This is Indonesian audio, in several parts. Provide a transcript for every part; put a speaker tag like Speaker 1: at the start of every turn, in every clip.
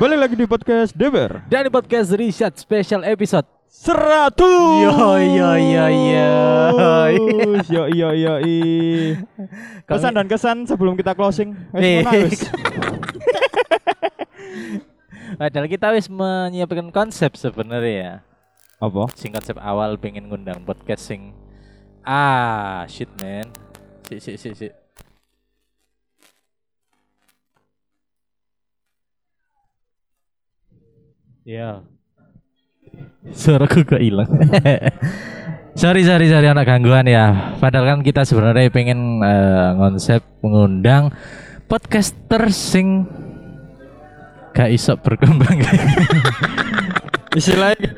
Speaker 1: Balik lagi di podcast Deber
Speaker 2: Dan di podcast Richard special episode
Speaker 1: 100
Speaker 2: Yo, yo, yo, yo.
Speaker 1: Yo yo yo i. Pesan dan kesan sebelum kita closing Wes,
Speaker 2: Nih.
Speaker 1: mana, wes?
Speaker 2: Padahal kita wis menyiapkan konsep sebenarnya ya.
Speaker 1: Apa?
Speaker 2: Sing konsep awal pengen ngundang podcast sing Ah, shit man. Si si si si. Ya. Suaraku kok hilang. sorry sorry sorry anak gangguan ya. Padahal kan kita sebenarnya pengen eh, konsep mengundang podcaster sing gak iso berkembang.
Speaker 1: Istilahnya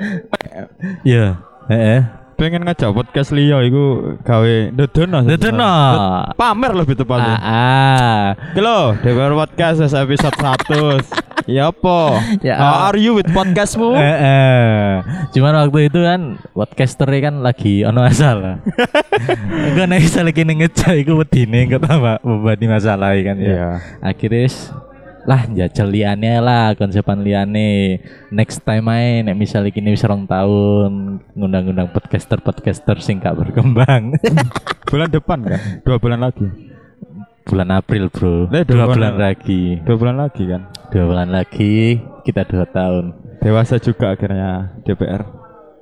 Speaker 2: Iya. Heeh.
Speaker 1: pengen ngajak podcast Leo iku gawe dedono.
Speaker 2: Dedono.
Speaker 1: sebenarnya. Pamer lebih
Speaker 2: Ah,
Speaker 1: tepatnya.
Speaker 2: ah.
Speaker 1: Halo, Deber Podcast wes episode 100. Ya apa?
Speaker 2: Ya.
Speaker 1: How are you with podcastmu?
Speaker 2: Eh, eh. Cuman waktu itu kan podcaster kan lagi ono masalah. Gue naik salah kini ngecah, gue wedine nggak tahu pak membani masalah kan ya.
Speaker 1: Iya.
Speaker 2: Akhirnya s- lah jajal liane lah konsepan liane next time aja nek misalnya kini wis rong tahun ngundang-ngundang podcaster podcaster sing gak berkembang
Speaker 1: Bulan depan kan? Dua bulan lagi.
Speaker 2: bulan April bro
Speaker 1: Eh,
Speaker 2: dua
Speaker 1: dua
Speaker 2: bulan
Speaker 1: bulan.
Speaker 2: lagi
Speaker 1: Dua bulan lagi kan?
Speaker 2: dua bulan lagi kita dua tahun
Speaker 1: Dewasa juga akhirnya DPR.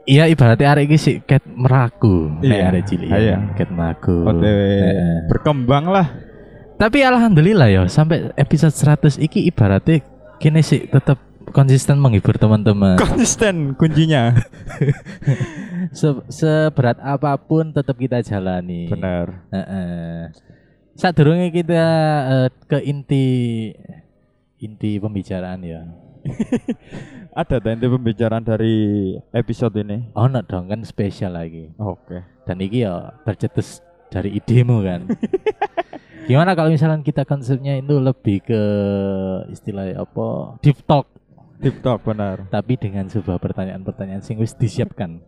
Speaker 2: Iya ibaratnya arek iki sik ket meraku,
Speaker 1: Iya.
Speaker 2: nek arek cilik. ya,
Speaker 1: Iya.
Speaker 2: Ket meraku.
Speaker 1: OTW
Speaker 2: Hmm. Heeh.
Speaker 1: berkembang lah.
Speaker 2: Tapi alhamdulillah ya sampai episode 100 iki ibaratnya kini sih tetap konsisten menghibur teman-teman.
Speaker 1: Konsisten kuncinya.
Speaker 2: Se- seberat apapun tetap kita jalani.
Speaker 1: Benar.
Speaker 2: Heeh. Saat kita eh, ke inti inti pembicaraan ya.
Speaker 1: Ada tadi pembicaraan dari episode ini.
Speaker 2: Oh, no dong kan spesial lagi.
Speaker 1: Oke.
Speaker 2: dan ini ya tercetus dari idemu kan gimana kalau misalnya kita konsepnya itu lebih ke istilahnya apa deep talk
Speaker 1: Deep talk benar.
Speaker 2: tapi dengan sebuah pertanyaan-pertanyaan sing wis disiapkan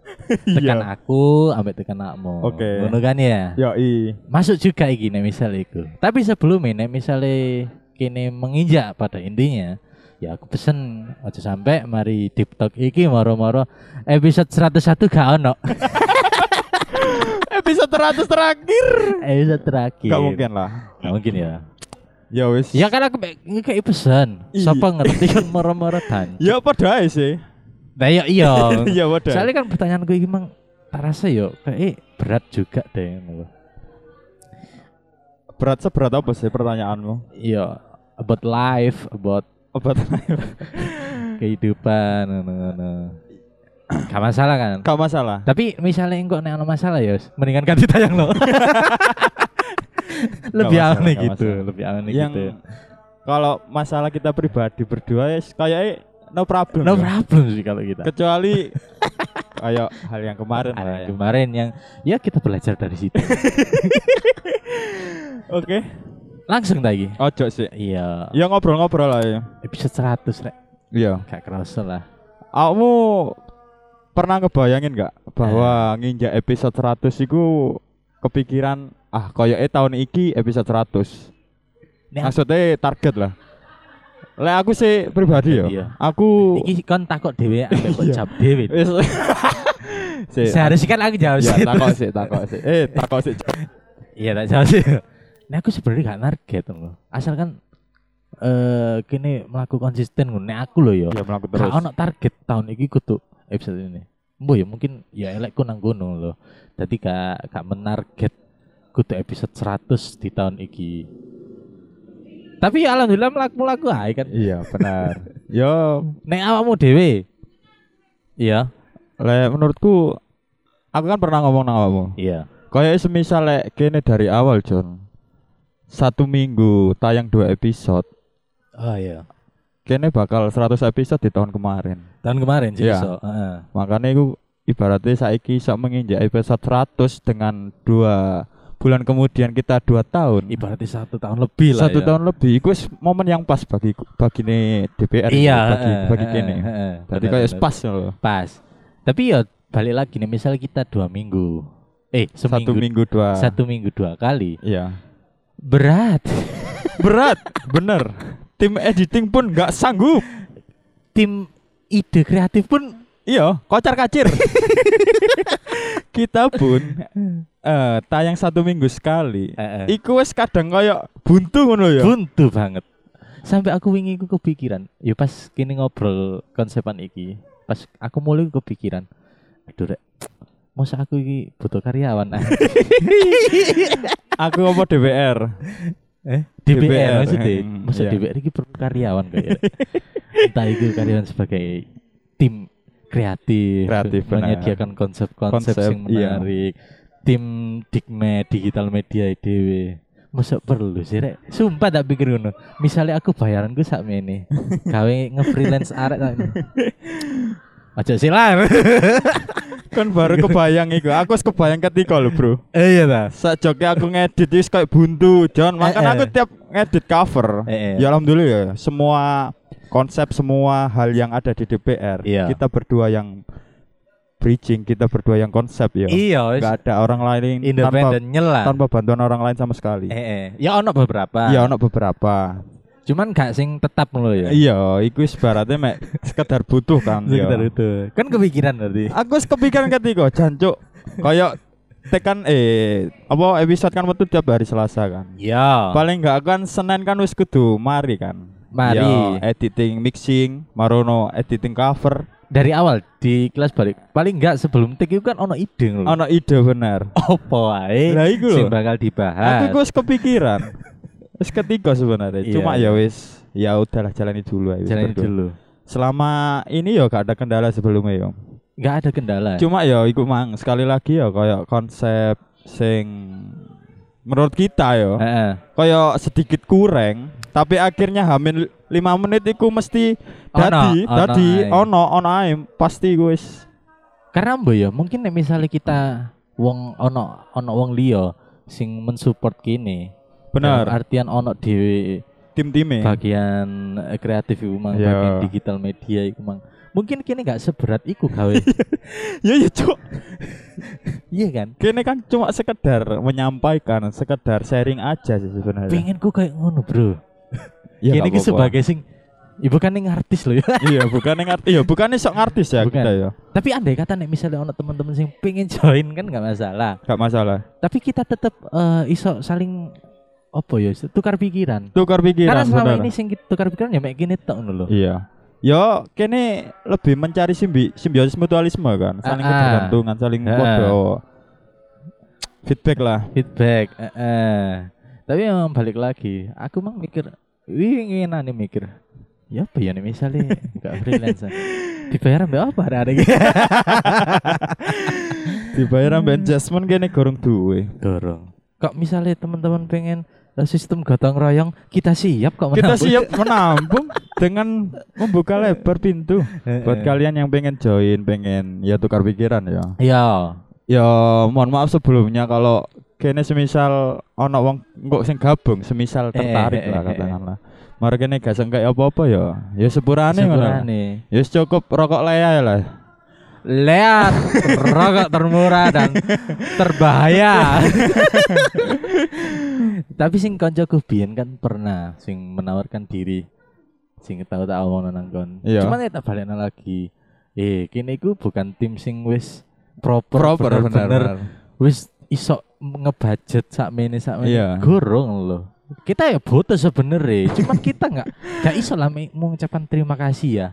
Speaker 2: tekan aku ambek tekan akmu
Speaker 1: Iya. Oke. Iya.
Speaker 2: ngono kan ya
Speaker 1: Yoi.
Speaker 2: masuk juga iki nek misalnya itu tapi sebelumnya nek misalnya kini menginjak pada intinya ya aku pesen aja sampai mari deep talk iki moro-moro episode 101 gak ono
Speaker 1: Episode 100 terakhir.
Speaker 2: episode terakhir
Speaker 1: Gak mungkin lah.
Speaker 2: gak mungkin ya
Speaker 1: Ya wis.
Speaker 2: Iya. Ya kan aku mek- ngekei pesan.
Speaker 1: Iya.
Speaker 2: Siapa ngerti kan moro-moro dan.
Speaker 1: Ya padha ae sih.
Speaker 2: Nah ya iya.
Speaker 1: Ya padha. ae.
Speaker 2: Soalnya kan pertanyaan gue emang tak rasa yo kayak eh, berat juga deh ngono.
Speaker 1: Berat seberat apa sih pertanyaanmu?
Speaker 2: Iya, about life, about
Speaker 1: Obat
Speaker 2: kehidupan ngono-ngono. Gak masalah kan?
Speaker 1: Gak masalah.
Speaker 2: Tapi misalnya engkau nek ono masalah ya, mendingan ganti tayang lo.
Speaker 1: Gak
Speaker 2: lebih
Speaker 1: masalah,
Speaker 2: aneh
Speaker 1: gak
Speaker 2: gitu,
Speaker 1: masalah.
Speaker 2: lebih aneh
Speaker 1: Yang
Speaker 2: gitu.
Speaker 1: kalau masalah kita pribadi berdua ya kayaknya no problem.
Speaker 2: No
Speaker 1: ya.
Speaker 2: problem sih kalau kita.
Speaker 1: Kecuali kayak hal yang kemarin.
Speaker 2: Ada
Speaker 1: lah
Speaker 2: yang
Speaker 1: ya.
Speaker 2: kemarin yang ya kita belajar dari situ.
Speaker 1: Oke.
Speaker 2: Langsung lagi.
Speaker 1: Ojo sih.
Speaker 2: Iya.
Speaker 1: Ya ngobrol-ngobrol lah ya.
Speaker 2: episode 100 rek
Speaker 1: Iya.
Speaker 2: gak kerasa lah
Speaker 1: Kamu pernah ngebayangin nggak
Speaker 2: Eh.
Speaker 1: bahwa nginjak episode 100 iku kepikiran ah koyoke tahun iki episode 100.
Speaker 2: Nek-
Speaker 1: Maksudnya target lah. Lek aku sih pribadi ya.
Speaker 2: Iya.
Speaker 1: Aku
Speaker 2: iki kon takok dhewe ambek kok
Speaker 1: Iya.
Speaker 2: jawab dhewe
Speaker 1: wis sih.
Speaker 2: seharusnya kan aku jawab
Speaker 1: ya
Speaker 2: sih
Speaker 1: takok sih, takok sih. Eh, takok sih.
Speaker 2: iya tak jawab sih nah aku sebenarnya gak target loh asal kan eh kini melakukan konsisten ngono nek aku loh yo
Speaker 1: Ya melaku terus.
Speaker 2: gak ono target tahun iki kudu episode ini Mbo ya mungkin ya elekku nang kono loh jadi gak gak menarget kudu episode 100 di tahun iki tapi ya alhamdulillah melaku-melaku ae kan
Speaker 1: Iya, benar. Yo,
Speaker 2: nek awakmu dhewe iya
Speaker 1: lek menurutku aku kan pernah ngomong nang awakmu.
Speaker 2: iya
Speaker 1: Kayak semisal lek kene dari awal, John. Satu minggu tayang dua episode.
Speaker 2: Oh iya.
Speaker 1: Kene bakal 100 episode di tahun kemarin.
Speaker 2: Tahun kemarin sih
Speaker 1: Iya.
Speaker 2: iso. Heeh.
Speaker 1: Makanya iku ibaratnya saiki iso menginjak episode 100 dengan dua bulan kemudian kita dua tahun.
Speaker 2: Ibaratnya satu tahun lebih lah.
Speaker 1: satu
Speaker 2: ya.
Speaker 1: tahun lebih. Iku wis momen yang pas bagi bagi nih DPR
Speaker 2: Iya,
Speaker 1: eh, bagi
Speaker 2: heeh,
Speaker 1: bagi
Speaker 2: heeh,
Speaker 1: kene.
Speaker 2: heeh.
Speaker 1: Berarti
Speaker 2: Benar,
Speaker 1: kayak
Speaker 2: benar.
Speaker 1: pas loh.
Speaker 2: pas. Tapi ya balik lagi nih misal kita dua minggu. Eh, seminggu.
Speaker 1: Satu minggu dua.
Speaker 2: Satu minggu dua kali.
Speaker 1: Iya.
Speaker 2: Berat.
Speaker 1: Berat, bener. Tim editing pun nggak sanggup.
Speaker 2: tim ide kreatif pun
Speaker 1: Iya, kocar kacir. kita pun eh, tayang satu minggu sekali.
Speaker 2: eh, eh,
Speaker 1: Iku wes kadang koyo buntu ngono ya.
Speaker 2: buntu banget. Sampai aku wingi ku kepikiran, ya pas kini ngobrol konsepan iki, pas aku mulai kepikiran, aduh rek, masa aku iki butuh karyawan
Speaker 1: Aku apa DPR?
Speaker 2: Eh,
Speaker 1: DPR,
Speaker 2: DPR maksudnya.
Speaker 1: eh, mm,
Speaker 2: Maksud
Speaker 1: iya.
Speaker 2: DPR ini perlu karyawan kayak. Entah itu karyawan sebagai tim kreatif,
Speaker 1: Kreatif, benar.
Speaker 2: menyediakan konsep-konsep
Speaker 1: Konsep,
Speaker 2: yang
Speaker 1: iya.
Speaker 2: menarik. Tim Dikme digital media IDW. Masa perlu sih rek? Sumpah tak pikir ngono. Misalnya aku bayaran gue sak ini. Gawe nge-freelance arek tak. Aja silan.
Speaker 1: Kan baru kebayang iku. Aku wes kebayang ketika lho, Bro.
Speaker 2: Eh iya ta.
Speaker 1: Sak joke aku ngedit wis kayak buntu, John.
Speaker 2: Eh, eh.
Speaker 1: Makanya aku tiap ngedit cover.
Speaker 2: Eh, eh.
Speaker 1: Ya alhamdulillah ya, semua konsep semua hal yang ada di DPR,
Speaker 2: Iya.
Speaker 1: kita berdua yang bridging, kita berdua yang konsep ya.
Speaker 2: Iya, wis.
Speaker 1: Enggak ada orang lain tanpa
Speaker 2: independen ya. nyela.
Speaker 1: tanpa bantuan orang lain sama sekali.
Speaker 2: Eh, eh. Ya ono beberapa.
Speaker 1: Iya, ono beberapa.
Speaker 2: Cuman gak sing tetap ngono ya.
Speaker 1: Iya, iku wis ibaratnya mek sekedar butuh kan. ya.
Speaker 2: Sekitar itu. Kan kepikiran berarti.
Speaker 1: Aku wis kepikiran ketika jancuk koyo tekan eh apa episode kan metu tiap hari Selasa kan.
Speaker 2: Ya.
Speaker 1: Paling enggak kan Senin kan wis kudu mari kan.
Speaker 2: Mari.
Speaker 1: Yo, editing mixing, marono editing cover.
Speaker 2: Dari awal di kelas balik. Paling enggak sebelum tik itu kan ono ide ngono.
Speaker 1: Ono ide bener.
Speaker 2: Opo ae.
Speaker 1: Lah iku lho.
Speaker 2: sing bakal
Speaker 1: Aku
Speaker 2: dibahas.
Speaker 1: iku wis kepikiran. Wis ketiga sebenarnya.
Speaker 2: Iya.
Speaker 1: Cuma ya wis ya udahlah jalani dulu ayo wis
Speaker 2: Jalani
Speaker 1: berdua.
Speaker 2: dulu.
Speaker 1: Selama ini ya gak ada kendala sebelumnya ya.
Speaker 2: Enggak ada kendala.
Speaker 1: Cuma ya iku mang sekali lagi ya kayak konsep sing menurut kita ya
Speaker 2: Heeh.
Speaker 1: kayak sedikit kurang tapi akhirnya hamin 5 menit iku mesti
Speaker 2: Ono,
Speaker 1: dadi
Speaker 2: ono
Speaker 1: dadi
Speaker 2: ae.
Speaker 1: ono ono ae pasti iku wis
Speaker 2: Karena mbok ya mungkin nek misalnya kita wong ono ono wong liya sing mensupport kini. Dalam
Speaker 1: bener
Speaker 2: Artian ono dhewe
Speaker 1: tim-time
Speaker 2: bagian eh, kreatif iku mang,
Speaker 1: Iya.
Speaker 2: bagian digital media iku mang. Mungkin kini enggak seberat iku gawe.
Speaker 1: ya ya cuk
Speaker 2: Iya kan?
Speaker 1: kene kan cuma sekedar menyampaikan sekedar sharing aja sih sebenarnya
Speaker 2: Pengen ku kayak ngono, Bro.
Speaker 1: Ya,
Speaker 2: Gini
Speaker 1: gak
Speaker 2: ki
Speaker 1: apa-apa.
Speaker 2: sebagai sing Ibu kan ning artis loh ya.
Speaker 1: iya bukan yang artis ya bukan sok artis ya
Speaker 2: Bukan.
Speaker 1: kita ya
Speaker 2: Tapi andai kata nek misalnya ono teman-teman sing pengen join kan nggak masalah.
Speaker 1: gak masalah
Speaker 2: Tapi kita tetap iso saling apa ya tukar pikiran.
Speaker 1: tukar pikiran
Speaker 2: Karena selama
Speaker 1: bener.
Speaker 2: ini sing kita tukar pikiran ya mek gini tok ngono lho.
Speaker 1: Iya. Yo, kene lebih mencari simbi simbiosis mutualisme kan, saling
Speaker 2: Ah, ah.
Speaker 1: ketergantungan, saling
Speaker 2: Ah, ah.
Speaker 1: podo. Feedback lah.
Speaker 2: Feedback, eh, eh. Tapi emang balik lagi, aku mang mikir wih ngene nih mikir. Ya apa ya nih misalnya enggak freelance. Dibayar mbak apa hari ini?
Speaker 1: Dibayar
Speaker 2: Hmm.
Speaker 1: ambek adjustment kene gorong duwe.
Speaker 2: Dorong. Kok misalnya teman-teman pengen eh, sistem gotong royong, kita siap kok
Speaker 1: Kita
Speaker 2: menampung.
Speaker 1: siap menampung dengan membuka lebar pintu
Speaker 2: Eh.
Speaker 1: buat kalian yang pengen join, pengen ya tukar pikiran ya.
Speaker 2: Ya,
Speaker 1: Ya, mohon maaf sebelumnya kalau kene semisal ono wong kok sing gabung, semisal
Speaker 2: Eh,
Speaker 1: tertarik
Speaker 2: eh,
Speaker 1: lah
Speaker 2: eh, eh.
Speaker 1: katakanlah. Mari kene gak sengkek apa-apa ya. Ya sepurane ngono.
Speaker 2: sepurane.
Speaker 1: Ya wis cukup rokok lea lah.
Speaker 2: Lihat rokok termurah dan terbahaya. Tapi sing koncoku biyen kan pernah sing menawarkan diri. Sing tahu tak omong nang kon.
Speaker 1: Iya.
Speaker 2: Cuman ya tak balekna lagi. Eh, kini iku bukan tim sing wis proper,
Speaker 1: proper
Speaker 2: bener-bener
Speaker 1: benar
Speaker 2: wis iso ngebajet sakmene sakmene
Speaker 1: Iya.
Speaker 2: gorong loh kita ya bodoh sebenernya cuman kita nggak nggak iso lah me- mengucapkan terima kasih ya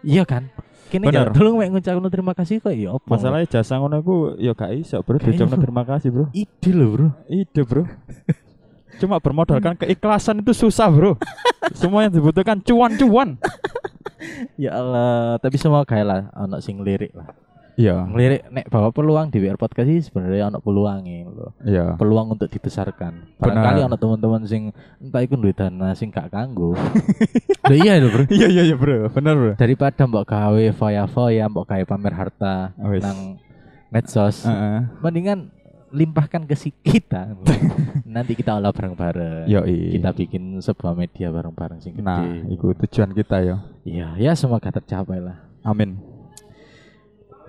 Speaker 2: iya kan kini
Speaker 1: Bener.
Speaker 2: nggak dulu mau ngucapkan terima kasih kok ya opo
Speaker 1: masalahnya jasa ngono aku ya gak iso bro
Speaker 2: Gak
Speaker 1: diucapkan
Speaker 2: iso.
Speaker 1: terima kasih bro
Speaker 2: ide loh bro
Speaker 1: ide bro cuma bermodalkan keikhlasan itu susah bro semua yang dibutuhkan cuan-cuan
Speaker 2: ya Allah tapi semua kayak lah anak sing lirik lah
Speaker 1: iya
Speaker 2: lirik nek bawa peluang di WR podcast ini sebenarnya anak peluangnya loh
Speaker 1: iya
Speaker 2: peluang untuk dibesarkan barangkali anak teman-teman sing entah ikut duit dana sing gak kanggo Loh, iya loh bro
Speaker 1: iya iya iya bro bener bro
Speaker 2: daripada mbok gawe foya-foya mbok gawe pamer harta
Speaker 1: Wis. Ah.
Speaker 2: nang medsos
Speaker 1: Heeh.
Speaker 2: mendingan limpahkan ke si kita nanti kita olah bareng-bareng
Speaker 1: yo i
Speaker 2: kita bikin sebuah media bareng-bareng sing gede
Speaker 1: nah itu tujuan kita ya
Speaker 2: ya ya semoga tercapai lah
Speaker 1: amin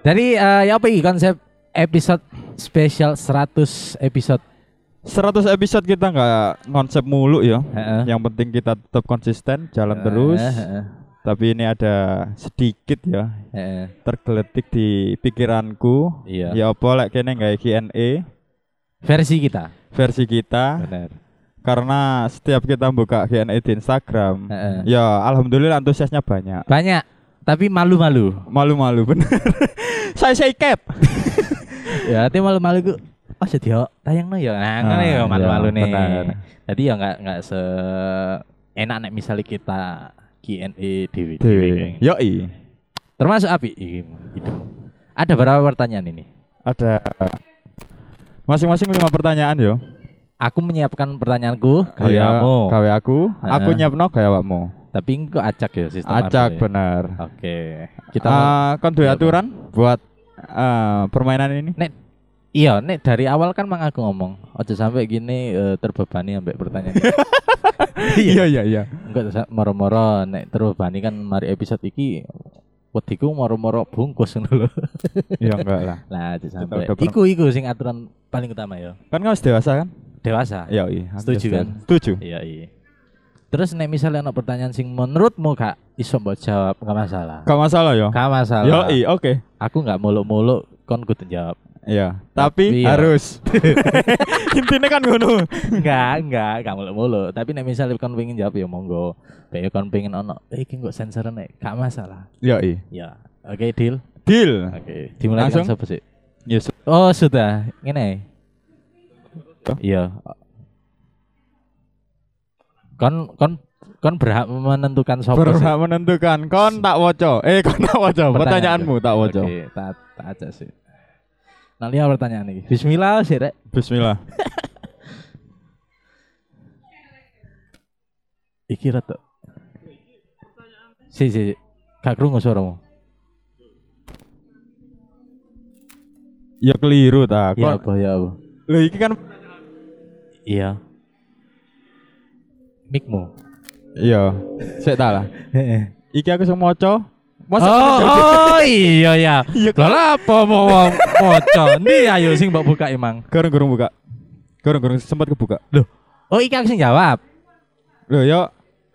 Speaker 2: jadi eh, ya apa iki konsep episode spesial 100 episode
Speaker 1: 100 episode kita nggak konsep mulu ya
Speaker 2: Heeh.
Speaker 1: yang penting kita tetap konsisten jalan terus
Speaker 2: Eh, eh, eh.
Speaker 1: tapi ini ada sedikit ya
Speaker 2: Heeh.
Speaker 1: tergeletik di pikiranku.
Speaker 2: Iya.
Speaker 1: Ya apa lek kene nggawe Q&A
Speaker 2: Versi kita.
Speaker 1: E versi kita
Speaker 2: Benar.
Speaker 1: karena setiap kita buka Q&A di Instagram
Speaker 2: Heeh.
Speaker 1: ya alhamdulillah antusiasnya banyak.
Speaker 2: Banyak, tapi malu-malu.
Speaker 1: Malu-malu bener. saya saya cap.
Speaker 2: ya, tapi malu-malu ku. Oh, jadi yo tayangno ya. Nah, ngono
Speaker 1: Ah,
Speaker 2: ya malu-malu
Speaker 1: iya,
Speaker 2: nih.
Speaker 1: benar.
Speaker 2: Jadi ya enggak enggak se enak nek misalnya kita Q&A dewi.
Speaker 1: Yoi.
Speaker 2: Termasuk api iki, itu. Ada berapa pertanyaan ini?
Speaker 1: Ada masing-masing lima pertanyaan yo.
Speaker 2: Aku menyiapkan pertanyaanku,
Speaker 1: Iya,
Speaker 2: gaweanmu.
Speaker 1: Gawe aku, aku
Speaker 2: Heeh.
Speaker 1: nyapno gawe awakmu.
Speaker 2: Tapi engko acak ya sistem
Speaker 1: Acak
Speaker 2: aku ya.
Speaker 1: bener.
Speaker 2: Oke. Kita
Speaker 1: Kita ya. kon duwe
Speaker 2: Iya, Bang.
Speaker 1: aturan buat eh, permainan ini.
Speaker 2: Iya, nek dari awal kan mang aku ngomong, ojo sampai gini eh, terbebani ambek pertanyaan.
Speaker 1: Iya iya iya.
Speaker 2: Enggak terus moro-moro nek terbebani kan mari episode iki wediku moro-moro bungkus ngono lho.
Speaker 1: Iya enggak lah.
Speaker 2: Lah ojo
Speaker 1: Kita
Speaker 2: sampai
Speaker 1: udah pernah-
Speaker 2: iku iku sing aturan paling utama ya.
Speaker 1: Kan kau dewasa kan?
Speaker 2: Dewasa.
Speaker 1: Iya iya. harus
Speaker 2: Setuju,
Speaker 1: dewasa.
Speaker 2: kan?
Speaker 1: Setuju.
Speaker 2: Iya, iya. Terus nek misalnya ana pertanyaan sing menurutmu gak iso mbok jawab, gak masalah.
Speaker 1: Gak masalah yo.
Speaker 2: Gak masalah.
Speaker 1: Yo iya oke.
Speaker 2: Aku gak muluk-muluk kon kudu jawab.
Speaker 1: Iya. Tapi
Speaker 2: Tapi ya.
Speaker 1: harus. Intinya kan ngono.
Speaker 2: enggak enggak enggak mulu mulu tapi nek misalnya kon pengen jawab ya monggo tapi kon pengen ono eh iki kok sensor nek gak masalah
Speaker 1: Yo iya.
Speaker 2: ya oke deal
Speaker 1: Deal.
Speaker 2: oke dimulai
Speaker 1: Langsung?
Speaker 2: dengan siapa sih
Speaker 1: Yes.
Speaker 2: oh sudah ngene
Speaker 1: Oh.
Speaker 2: iya kon kon kon berhak menentukan sopo sih.
Speaker 1: Berhak menentukan kon tak woco. Eh kon tak woco. Pertanyaanmu tak woco.
Speaker 2: oke tak tak aja sih nah lihat pertanyaan ini bismillah sih rek
Speaker 1: Bismillah.
Speaker 2: Iki rata. Si si. si. Gak krungu suaramu.
Speaker 1: Ya keliru ta.
Speaker 2: Iya,
Speaker 1: Kon
Speaker 2: apa ya apa.
Speaker 1: lho iki kan
Speaker 2: Iya. Mikmu.
Speaker 1: iya. Sik ta lah. Iki aku sing maca. Masa
Speaker 2: oh,
Speaker 1: aku jawab?
Speaker 2: oh iya ya.
Speaker 1: Iya,
Speaker 2: Lha lah apa mau mau- moco. Ndi ayo sing mbok buka emang.
Speaker 1: Gorong-gorong buka. Gorong-gorong sempat kebuka.
Speaker 2: Loh. Oh iki aku sing jawab.
Speaker 1: Loh yo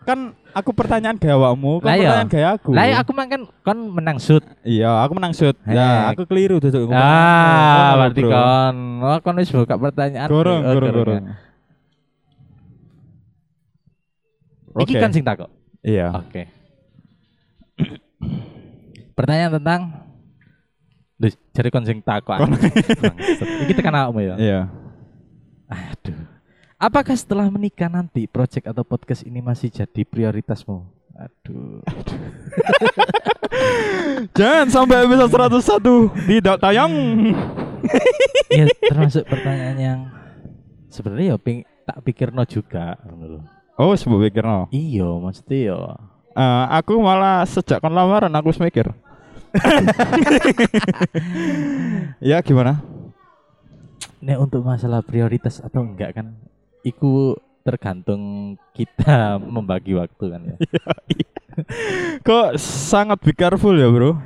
Speaker 1: kan aku pertanyaan gaya awakmu,
Speaker 2: Lah,
Speaker 1: kan
Speaker 2: iya.
Speaker 1: pertanyaan gaya aku.
Speaker 2: Lah ya aku mang kan kon menang shoot.
Speaker 1: Iya, aku menang shoot. Ya,
Speaker 2: Hek.
Speaker 1: aku keliru duduk.
Speaker 2: ah, berarti kon. Oh, kon wis buka pertanyaan.
Speaker 1: Gorong,
Speaker 2: Oh,
Speaker 1: gorong, gorong.
Speaker 2: ya. Iki
Speaker 1: Oke.
Speaker 2: kan sing takok.
Speaker 1: Iya.
Speaker 2: Oke. Pertanyaan tentang Duh, cari konsing takwa. Ini tekan awakmu ya.
Speaker 1: Iya.
Speaker 2: Aduh. Apakah setelah menikah nanti project atau podcast ini masih jadi prioritasmu? Aduh.
Speaker 1: Jangan sampai episode 101 tidak tayang.
Speaker 2: ya termasuk pertanyaan yang sebenarnya ya ping, tak pikirno juga ngono lho.
Speaker 1: Oh, sebut pikir no.
Speaker 2: Iya, maksudnya ya.
Speaker 1: Eh, aku malah sejak kon lamaran aku wis mikir. ya gimana?
Speaker 2: Nek untuk masalah prioritas atau enggak kan iku tergantung kita membagi waktu kan ya.
Speaker 1: Kok sangat be careful ya, Bro?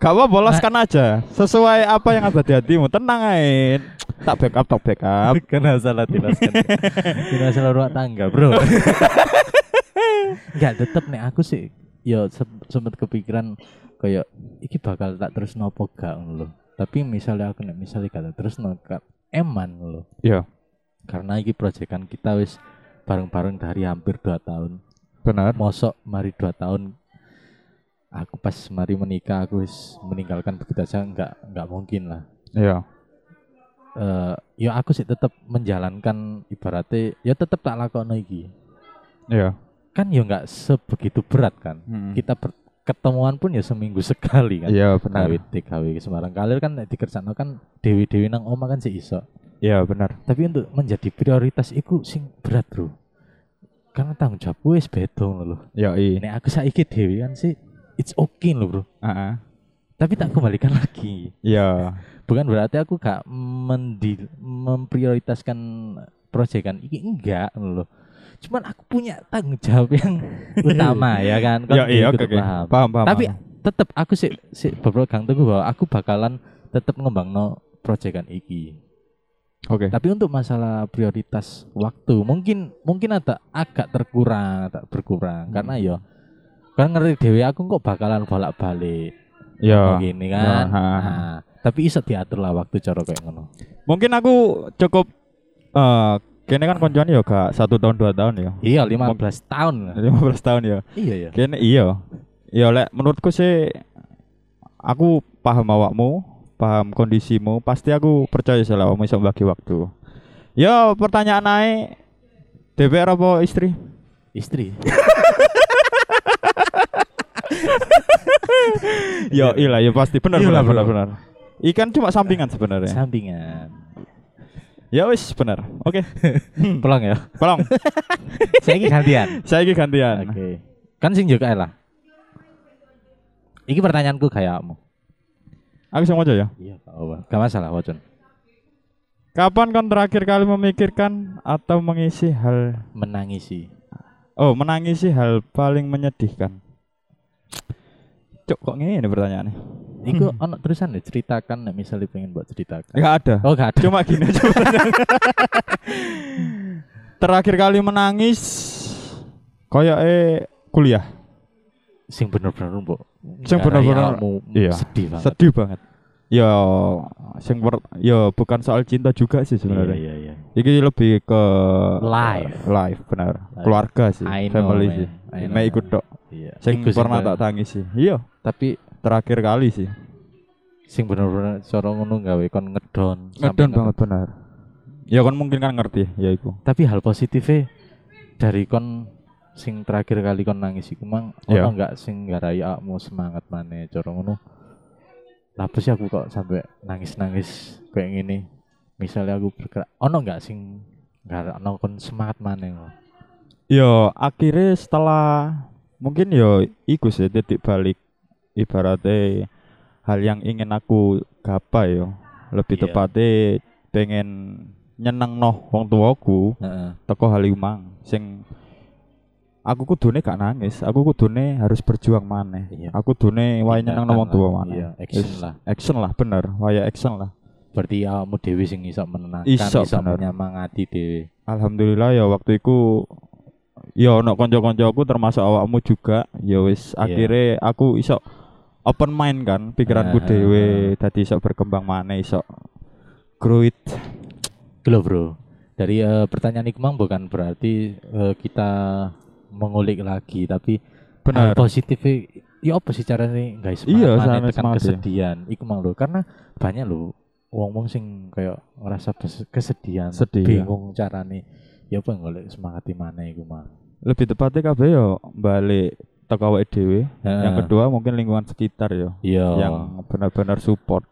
Speaker 1: Gak apa
Speaker 2: Nah.
Speaker 1: boloskan aja sesuai apa yang ada di hatimu. Tenang aja. Tak backup, tak backup.
Speaker 2: Karena salah dinas kan. dinas salah ruang tangga, Bro. Enggak tetep nek aku sih ya se- sempet kepikiran kayak iki bakal tak terus nopo gak ngono lho. Tapi misalnya aku nek misalnya gak terus gak eman ngono lho.
Speaker 1: Iya,
Speaker 2: Karena iki proyekan kita wis bareng-bareng dari hampir 2 tahun.
Speaker 1: benar.
Speaker 2: Mosok mari 2 tahun aku pas mari menikah aku wis meninggalkan begitu aja enggak enggak mungkin lah.
Speaker 1: Iya.
Speaker 2: eh ya aku sih tetap menjalankan ibaratnya ya tetap tak lakono iki
Speaker 1: Iya.
Speaker 2: kan ya nggak sebegitu berat kan kita ber- ketemuan pun ya seminggu sekali kan
Speaker 1: Hmm. Iya, benar.
Speaker 2: KWT KW Semarang Kalir kan nek dikersakno kan dewi-dewi nang oma kan sih iso
Speaker 1: Iya, benar.
Speaker 2: tapi untuk menjadi prioritas iku sing berat bro karena tanggung jawab wis beda ngono lho
Speaker 1: Yo i.
Speaker 2: nek aku saiki dewi kan sih it's okay lho bro
Speaker 1: Heeh.
Speaker 2: tapi tak kembalikan lagi
Speaker 1: Ah, Iya.
Speaker 2: bukan berarti aku gak mendi, memprioritaskan proyekan ini enggak loh cuman aku punya tanggung jawab yang utama ya kan Kan
Speaker 1: Yo i,
Speaker 2: ikut
Speaker 1: Iya, oke oke.
Speaker 2: paham.
Speaker 1: Paham, paham.
Speaker 2: tapi
Speaker 1: paham.
Speaker 2: tetap aku sih sih berpegang teguh bahwa aku bakalan tetap ngembangno proyekan iki
Speaker 1: oke.
Speaker 2: tapi untuk masalah prioritas waktu mungkin mungkin ada agak terkurang tak berkurang
Speaker 1: Hmm.
Speaker 2: ya, karena yo kan ngerti dewe aku kok bakalan bolak-balik
Speaker 1: Ya.
Speaker 2: begini kan.
Speaker 1: Ya, ha, ha.
Speaker 2: Nah, tapi iso diatur lah waktu cara kayak ngono.
Speaker 1: Mungkin aku cukup eh kene kan koncoan ya gak satu tahun dua tahun ya.
Speaker 2: Iya, 15 tahun.
Speaker 1: 15 tahun ya.
Speaker 2: Iya ya.
Speaker 1: Kene iya. Ya lek menurutku sih aku paham awakmu, paham kondisimu, pasti aku percaya sih lah awakmu iso bagi waktu. Ya pertanyaan naik DPR apa istri?
Speaker 2: Istri.
Speaker 1: ya iya ya pasti benar
Speaker 2: Iya lah,
Speaker 1: benar
Speaker 2: bro.
Speaker 1: benar benar. Ikan cuma sampingan sebenarnya.
Speaker 2: Sampingan.
Speaker 1: Ya wis benar. Oke.
Speaker 2: Pulang ya.
Speaker 1: Tolong
Speaker 2: Saya gantian.
Speaker 1: saya iki gantian.
Speaker 2: Oke. Kan sing juga lah. Iki pertanyaanku kayakmu.
Speaker 1: Aku sing aja ya.
Speaker 2: Iya, Pak Owa. Gak masalah, Wacun.
Speaker 1: Kapan kon terakhir kali memikirkan atau mengisi hal
Speaker 2: Menangisi.
Speaker 1: oh menangisi hal paling menyedihkan? Cuk kok ngene pertanyaannya?
Speaker 2: Iku ono terusan deh ceritakan nek misalnya pengen buat ceritakan.
Speaker 1: Enggak ada.
Speaker 2: Oh, gak ada.
Speaker 1: Cuma gini aja pertanyaannya. Terakhir kali menangis koyo kuliah.
Speaker 2: sing bener-bener mbok.
Speaker 1: Sing bener-bener-
Speaker 2: Kayakmu
Speaker 1: iya.
Speaker 2: Sedih banget.
Speaker 1: Sedih banget. Ya sing per, ya bukan soal cinta juga sih sebenarnya.
Speaker 2: Iya, iya, iya.
Speaker 1: Iki lebih ke
Speaker 2: Life.
Speaker 1: life benar.
Speaker 2: Life.
Speaker 1: Keluarga sih,
Speaker 2: I know,
Speaker 1: family
Speaker 2: man.
Speaker 1: sih.
Speaker 2: I know.
Speaker 1: Nek ikut tok.
Speaker 2: Iya.
Speaker 1: Sing
Speaker 2: Iku
Speaker 1: pernah tak
Speaker 2: bener-
Speaker 1: tangisi. Iya,
Speaker 2: Tapi
Speaker 1: terakhir kali sih.
Speaker 2: sing bener-bener cara ngono gawe kon ngedon. sampai
Speaker 1: Ngedon
Speaker 2: ngedon.
Speaker 1: banget benar. Ya kon mungkin kan ngerti, ya iku.
Speaker 2: Tapi hal positifnya dari kon sing terakhir kali kon nangis iku mang
Speaker 1: Iya.
Speaker 2: ono enggak sing garai akmu semangat maneh cara ngono. Apa sih aku kok sampai nangis-nangis kayak gini? Misalnya aku bergerak, ono enggak sing enggak ono kon semangat maneh kok.
Speaker 1: Yo akhirnya setelah mungkin yo iku sih titik balik ibaratnya hal yang ingin aku gapai yo. Lebih
Speaker 2: Iya.
Speaker 1: tepatnya pengen nyeneng noh wong tuaku
Speaker 2: Heeh.
Speaker 1: teko halimang sing aku kudune gak nangis, aku kudune harus berjuang maneh.
Speaker 2: Iya.
Speaker 1: Aku kudune wae nyeneng
Speaker 2: Tindakan
Speaker 1: wong tuwa
Speaker 2: lah,
Speaker 1: maneh.
Speaker 2: Iya, action
Speaker 1: Yes.
Speaker 2: lah.
Speaker 1: Action lah bener, wae action lah.
Speaker 2: Berarti awakmu dhewe sing iso menenangkan,
Speaker 1: Iso,
Speaker 2: iso,
Speaker 1: bener.
Speaker 2: menyemangati dhewe.
Speaker 1: Alhamdulillah ya waktu itu ya ono konco-konco aku termasuk awakmu juga ya wis
Speaker 2: Iya.
Speaker 1: akhirnya aku iso open mind kan pikiranku
Speaker 2: Ah.
Speaker 1: dhewe tadi iso berkembang maneh iso grow it
Speaker 2: Gitu loh, Bro. Dari eh, pertanyaan iku mang bukan berarti eh, kita mengulik lagi, tapi
Speaker 1: bener
Speaker 2: hal positifnya ya apa sih caranya guys
Speaker 1: Iya,
Speaker 2: maneh
Speaker 1: caranya
Speaker 2: tekan
Speaker 1: semangat ya.
Speaker 2: kesedihan iku mang lho karena banyak lho wong-wong sing kayak ngerasa kes- kesedihan
Speaker 1: Sedih, ya.
Speaker 2: bingung carane ya apa golek semangat di mana iku mang
Speaker 1: lebih tepatnya kabeh yo balik teko awake dhewe yang
Speaker 2: Heeh.
Speaker 1: kedua mungkin lingkungan sekitar yo
Speaker 2: iya
Speaker 1: yang benar-benar support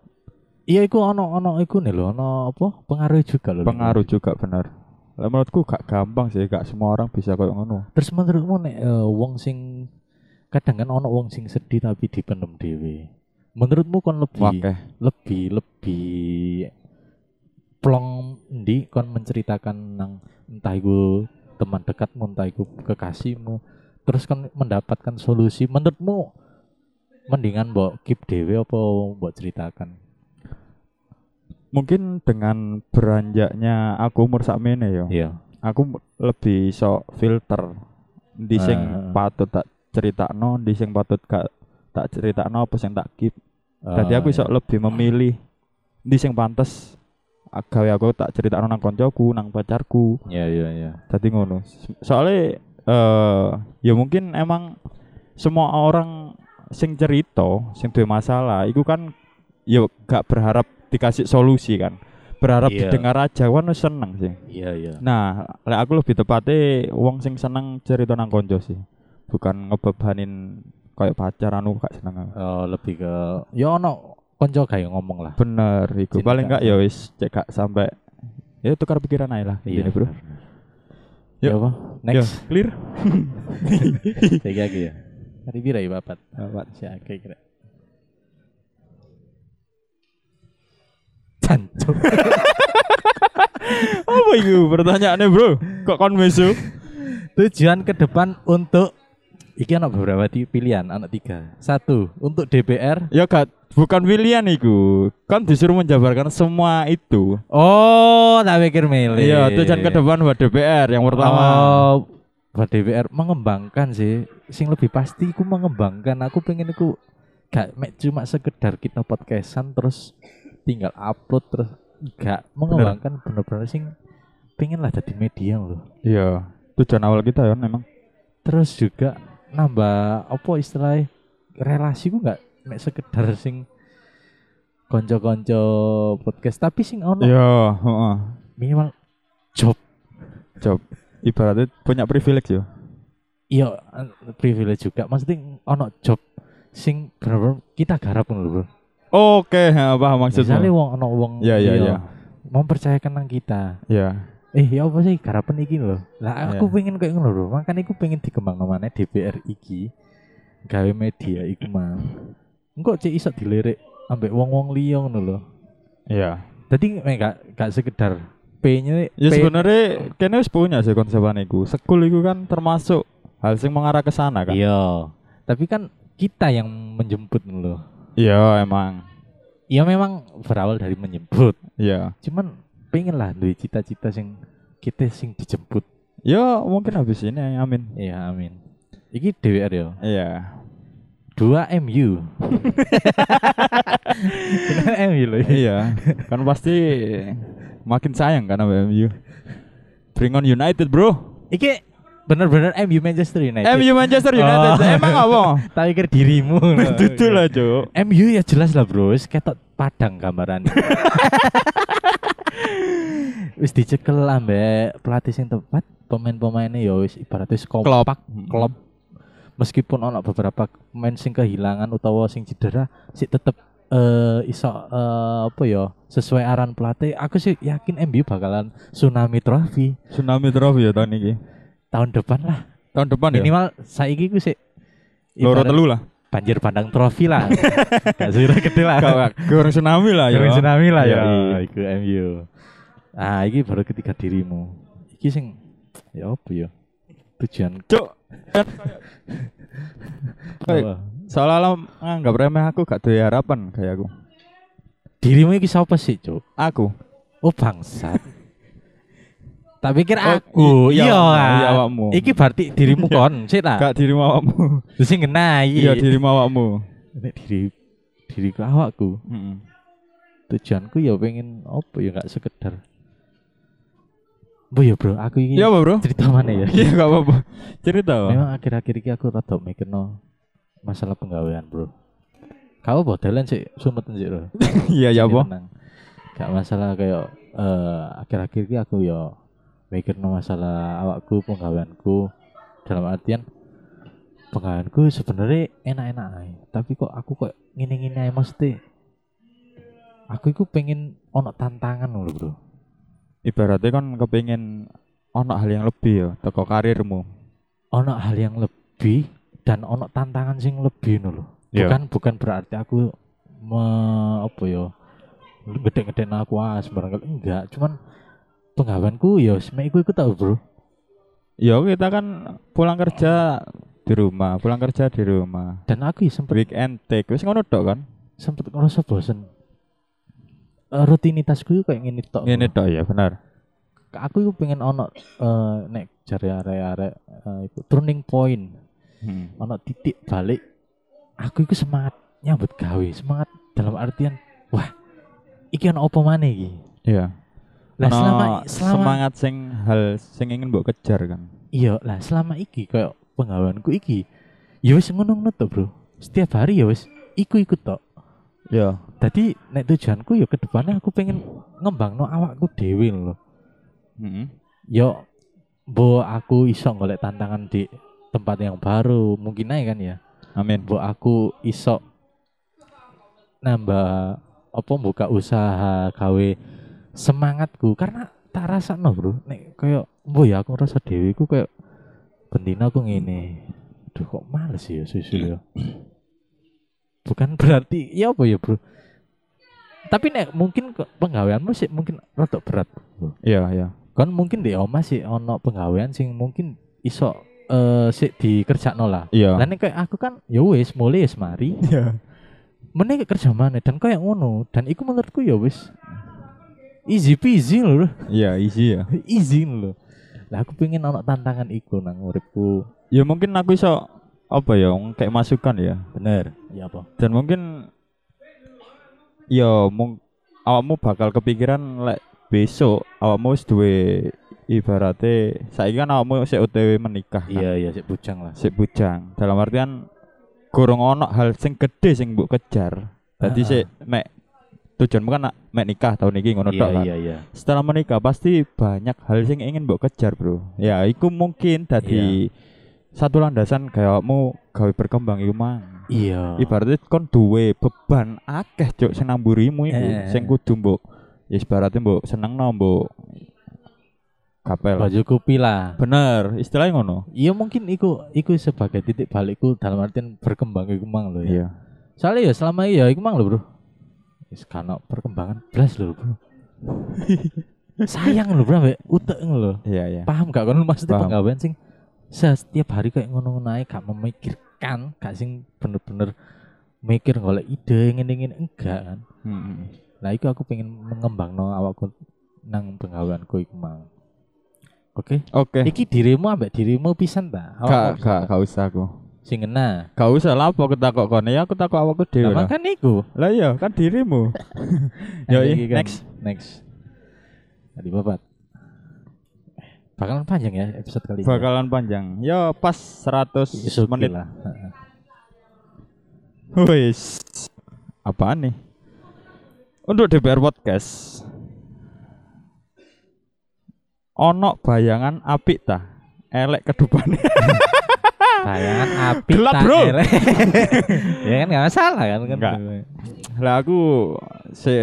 Speaker 2: iya iku ono ono iku nih lho ono apa pengaruh juga lho
Speaker 1: pengaruh juga bener lah menurutku gak gampang sih gak semua orang bisa kayak ngono
Speaker 2: Terus menurutmu nek eh, wong sing kadang kan ono wong sing sedih tapi dipendem dhewe. Menurutmu kon lebih
Speaker 1: wakeh
Speaker 2: lebih lebih plong ndi kon menceritakan nang entah iku teman dekatmu entah iku kekasihmu terus kon mendapatkan solusi menurutmu mendingan mbok keep dhewe apa mbok ceritakan
Speaker 1: mungkin dengan beranjaknya aku umur sakmene ya, yo
Speaker 2: iya
Speaker 1: aku m- lebih iso filter di sing
Speaker 2: Ah.
Speaker 1: patut tak critakno di sing patut gak tak critakno apa sing tak keep
Speaker 2: Eh,
Speaker 1: Dadi aku
Speaker 2: Ah,
Speaker 1: iso
Speaker 2: iya.
Speaker 1: lebih memilih di sing pantes a- gawe aku tak critakno nang koncoku nang pacarku
Speaker 2: iya iya iya
Speaker 1: dadi ngono S- soalnya eh ya mungkin emang semua orang sing cerita sing duwe masalah iku kan ya gak berharap dikasih solusi kan berharap
Speaker 2: Iya.
Speaker 1: didengar aja kan wis seneng sih
Speaker 2: iya iya
Speaker 1: Nah, lek aku lebih tepatnya wong sing seneng cerita nang konco sih. Bukan ngebebanin kayak pacar anu gak seneng.
Speaker 2: Eh, lebih ke ya ono konco gawe ngomong lah
Speaker 1: Bener, iku
Speaker 2: Jadi
Speaker 1: paling
Speaker 2: gak-
Speaker 1: gak ya wis cek gak sampai ya tukar pikiran aja lah
Speaker 2: Iya
Speaker 1: ini bro.
Speaker 2: benar.
Speaker 1: Yuk.
Speaker 2: Ya apa? Next.
Speaker 1: Ya, clear.
Speaker 2: Saya lagi ya. Hari biru ya bapak. Saya kayak kira. Cantu.
Speaker 1: Apa itu pertanyaannya bro? Kok kon mesu?
Speaker 2: Tujuan ke depan untuk Iki anak beberapa ti- pilihan, anak tiga. Satu untuk DPR.
Speaker 1: ya gak bukan pilihan iku. Kan disuruh menjabarkan semua itu.
Speaker 2: Oh, tak pikir milih. iya.
Speaker 1: Iya, tujuan ke depan buat DPR yang pertama.
Speaker 2: Oh, buat DPR mengembangkan sih sing lebih pasti iku mengembangkan aku pengen iku gak mek cuma sekedar kita podcastan terus tinggal upload terus gak mengembangkan bener-bener sing pengen lah jadi media loh
Speaker 1: Iya. Tujuan awal kita ya memang.
Speaker 2: terus juga nambah apa istilahnya relasi ku gak mek sekedar sing konco-konco podcast tapi sing ono
Speaker 1: Iya, heeh.
Speaker 2: minimal job
Speaker 1: Ibaratnya punya privilege ya.
Speaker 2: iya eh, privilege juga maksudnya ono job sing bener-bener kita garap ngono lho bro
Speaker 1: Oke, ha, paham
Speaker 2: misalnya
Speaker 1: maksudnya.
Speaker 2: wong ono wong
Speaker 1: Iya, iya,
Speaker 2: liya
Speaker 1: iya.
Speaker 2: mempercayakan nang kita
Speaker 1: Iya.
Speaker 2: eh ya apa sih garapan iki lho lah aku
Speaker 1: Iya.
Speaker 2: pengen kayak ngono lho makanya aku pengen dikembang namanya DPR iki gawe media iku mah engko cek iso dilirik ambek wong-wong liya ngono lho
Speaker 1: Iya.
Speaker 2: dadi mek gak gak sekedar P-nya
Speaker 1: Ya
Speaker 2: P-
Speaker 1: sebenarnya kene wis punya sih konsepan iku. Sekul iku kan termasuk hal sing mengarah ke sana kan.
Speaker 2: iya tapi kan kita yang menjemput ngono lho
Speaker 1: Iya, emang.
Speaker 2: ya memang berawal dari menjemput
Speaker 1: Iya.
Speaker 2: cuman pengen lah duwe cita-cita sing kita sing dijemput
Speaker 1: Ya mungkin habis ini amin.
Speaker 2: ya amin iki DWR ya
Speaker 1: Iya.
Speaker 2: 2 MU Bener MU loh
Speaker 1: iya. Kan pasti makin sayang kan sama MU. Bring on United, Bro.
Speaker 2: iki bener-bener MU Manchester United
Speaker 1: MU Manchester United.
Speaker 2: Oh.
Speaker 1: Emang apa?
Speaker 2: tak pikir dirimu loh.
Speaker 1: Betul lah, Cuk.
Speaker 2: MU ya jelas lah bro wis ketok padang gambaran wis dicekel ambek pelatih sing tepat pemain-pemainnya ya wis ibaratnya wis kompak
Speaker 1: Klopak.
Speaker 2: klub meskipun ono beberapa pemain sing kehilangan utawa sing cedera sih tetep eh iso eh, apa ya sesuai aran pelatih aku sih yakin MU bakalan tsunami trophy
Speaker 1: Tsunami Trophy ya tahun ini.
Speaker 2: tahun depan lah
Speaker 1: Tahun depan ya.
Speaker 2: minimal saiki ku sih
Speaker 1: Loro
Speaker 2: ibarat
Speaker 1: telu lah.
Speaker 2: banjir pandang trophy lah gak sira gede lah
Speaker 1: Kau goreng tsunami lah ya.
Speaker 2: Kering tsunami lah ya.
Speaker 1: Iya.
Speaker 2: Iya, iku MU. Ah, iki baru ketiga dirimu. Iki sing ya apa ya? Tujuan
Speaker 1: Cuk. Kayak-
Speaker 2: apa?
Speaker 1: Seolah-olah nganggap remeh aku gak duwe harapan kayak aku.
Speaker 2: Dirimu iki siapa sih, Cuk?
Speaker 1: Aku.
Speaker 2: Oh, bangsat. tak pikir
Speaker 1: Oh,
Speaker 2: aku.
Speaker 1: i- iya,
Speaker 2: iya,
Speaker 1: awakmu, iya,
Speaker 2: ah.
Speaker 1: awakmu.
Speaker 2: Iki berarti dirimu kon, sik ta?
Speaker 1: Gak dirimu awakmu.
Speaker 2: Terus sing ngenai.
Speaker 1: Iya dirimu awakmu.
Speaker 2: Nek diri diriku awakku.
Speaker 1: Mm-mm.
Speaker 2: Tujuanku ya pengen apa ya gak sekedar. Bu ya, Bro, aku ini
Speaker 1: Iya apa bro?
Speaker 2: cerita mana ya?
Speaker 1: Iya gak apa-apa. Cerita. apa?
Speaker 2: Memang akhir-akhir ini aku rada mikirno masalah penggawean, Bro. Kau bodolan sih, sumet sih, Bro.
Speaker 1: Iya ya apa?
Speaker 2: Tenang. Gak masalah kayak eh, akhir-akhir ini aku ya mikirno masalah awakku, penggaweanku dalam artian penggaweanku sebenarnya enak-enak ae, tapi kok aku kok ngini-ngini ae mesti aku iku pengen ono tantangan lho, Bro.
Speaker 1: Ibaratnya kan kepingin ono hal yang lebih ya teko karirmu.
Speaker 2: ono hal yang lebih dan ono tantangan sing lebih ngono lho.
Speaker 1: Iya.
Speaker 2: Bukan bukan berarti aku me, apa ya gede-gedein aku ah sembarang kali. enggak, cuman penggaweanku ya semek iku iku tau, Bro.
Speaker 1: Ya kita kan pulang kerja di rumah, pulang kerja di rumah.
Speaker 2: Dan aku ya sempet
Speaker 1: Weekend take wis ngono tok kan?
Speaker 2: sempet ngerasa bosen. Eh, rutinitasku iku kayak ngene tok.
Speaker 1: Ngene
Speaker 2: Bro.
Speaker 1: tok ya benar.
Speaker 2: Aku iku pengen ono eh, nek jare arek-arek eh, iku turning point,
Speaker 1: Hmm.
Speaker 2: ono titik balik. Aku iku semangat nyambut gawe, semangat dalam artian wah iki ono apa maneh iki?
Speaker 1: Iya.
Speaker 2: Lah
Speaker 1: Ono
Speaker 2: selama selama
Speaker 1: semangat sing hal sing ingin mbok kejar kan.
Speaker 2: iya lah selama iki kayak penggaweanku iki ya wis ngono-ngono to, Bro. Setiap hari ya wis iku-iku tok.
Speaker 1: Iya.
Speaker 2: Tadi nek tujuanku ya ke depannya aku pengen ngembangno awakku dhewe lho. Mm-hmm.
Speaker 1: Heeh.
Speaker 2: Yo bo aku iso golek tantangan di tempat yang baru, mungkin aja kan ya.
Speaker 1: Amin.
Speaker 2: Bo aku iso nambah apa buka usaha gawe semangatku karena tak rasa no bro nek kayak bo ya aku ngerasa dewi ku kayak bendina aku ngene duh kok males ya susu ya bukan berarti ya apa ya bro tapi nek mungkin ke- penggaweanmu sih mungkin rada berat bro.
Speaker 1: Iya, iya.
Speaker 2: kan mungkin di omah sih ono penggawean sing mungkin iso eh sik dikerjakno lah
Speaker 1: Iya.
Speaker 2: Lah nek kayak aku kan ya wis mulai wis mari.
Speaker 1: Iya.
Speaker 2: Meneh kerja mana dan kayak ngono dan iku menurutku ya wis easy peasy lho. Bro.
Speaker 1: Iya, easy ya.
Speaker 2: easy lho. Lah aku pengen ono tantangan iku nang uripku.
Speaker 1: Ya mungkin aku iso apa ya kayak masukan ya
Speaker 2: Bener. Ya apa?
Speaker 1: dan mungkin ya mung awakmu bakal kepikiran lek besok awakmu wis duwe ibarate saiki kan awakmu sik OTW menikah kan?
Speaker 2: Iya iya sik bujang lah.
Speaker 1: sik bujang dalam artian gorong ono hal sing gede sing mbok kejar dadi
Speaker 2: Ah.
Speaker 1: sik mek tujuanmu kan nak mek nikah tahun ini ngono tok kan
Speaker 2: iya iya.
Speaker 1: setelah menikah pasti banyak hal sing ingin mbok kejar bro ya iku mungkin
Speaker 2: Iya.
Speaker 1: dadi satu landasan gayawakmu gawe berkembang iku mang
Speaker 2: Iya.
Speaker 1: ibaratnya kon duwe beban akeh cuk sing namburimu iku
Speaker 2: Eh.
Speaker 1: sing kudu mbok ya ibaratnya mbok seneng mbok kapel
Speaker 2: Mencukupi lah.
Speaker 1: bener istilahnya ngono
Speaker 2: Iya mungkin iku iku sebagai titik balikku dalam artian berkembang iku mang lho ya.
Speaker 1: iya
Speaker 2: Soalnya ya selama ini ya iku mang lho, Bro. Wis kana perkembangan blas lho, Bro. Sayang lho, Bro, mbek uteng lho.
Speaker 1: iya iya
Speaker 2: Paham gak kono maksudnya
Speaker 1: Paham.
Speaker 2: penggawean sing setiap hari kayak ngono-ngono ae gak memikirkan, gak sing bener-bener mikir golek ide ngene-ngene enggak kan.
Speaker 1: Mm-mm.
Speaker 2: Nah, itu aku pengen mengembangno awakku nang penggaweanku iku mang. Oke,
Speaker 1: oke
Speaker 2: iki dirimu ambek dirimu pisan ta?
Speaker 1: Eh. gak
Speaker 2: Awakmu
Speaker 1: gak gak usah aku
Speaker 2: sing ngena.
Speaker 1: gak usah lah apa ketakok kon ya aku takok awakku dhewe
Speaker 2: Nah,
Speaker 1: lah
Speaker 2: kan iku.
Speaker 1: lah iya kan dirimu yo
Speaker 2: Ayo,
Speaker 1: iya,
Speaker 2: iki kan.
Speaker 1: next
Speaker 2: next. Tadi babat. Bakalan panjang ya episode kali ini.
Speaker 1: bakalan panjang yo pas 100
Speaker 2: It's okay
Speaker 1: menit
Speaker 2: Iya, lah.
Speaker 1: Wis. Apaan nih? Untuk DPR Podcast. Onok bayangan apik ta? Elek kedupane.
Speaker 2: Bayangan api
Speaker 1: Gelap,
Speaker 2: tak
Speaker 1: bro.
Speaker 2: elek. ya kan nggak masalah kan kan.
Speaker 1: Nggak. lah aku se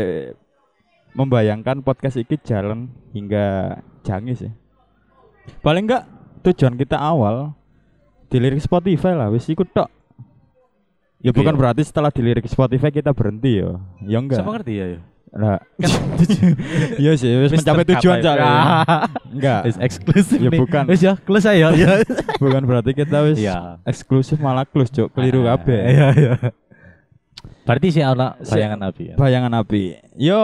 Speaker 1: membayangkan podcast iki jalan hingga jangi sih. Paling enggak tujuan kita awal dilirik Spotify lah wis ikut tok. Ya
Speaker 2: Gitu
Speaker 1: bukan
Speaker 2: ya.
Speaker 1: berarti setelah dilirik Spotify kita berhenti ya. Ya enggak.
Speaker 2: Sama ngerti ya. yo?
Speaker 1: Nah, iya sih, wis
Speaker 2: Wis
Speaker 1: mencapai tujuan
Speaker 2: tercapai.
Speaker 1: soalnya.
Speaker 2: Ah,
Speaker 1: Enggak,
Speaker 2: Wis eksklusif
Speaker 1: Ya,
Speaker 2: nih.
Speaker 1: bukan. Iya.
Speaker 2: Wis ya, close aja. Ya.
Speaker 1: bukan berarti kita wis
Speaker 2: Iya.
Speaker 1: eksklusif malah close, Cuk. Keliru
Speaker 2: Ah,
Speaker 1: kabeh.
Speaker 2: Iya iya. Berarti sih ana
Speaker 1: Si-
Speaker 2: bayangan api ya.
Speaker 1: Bayangan api. Yo,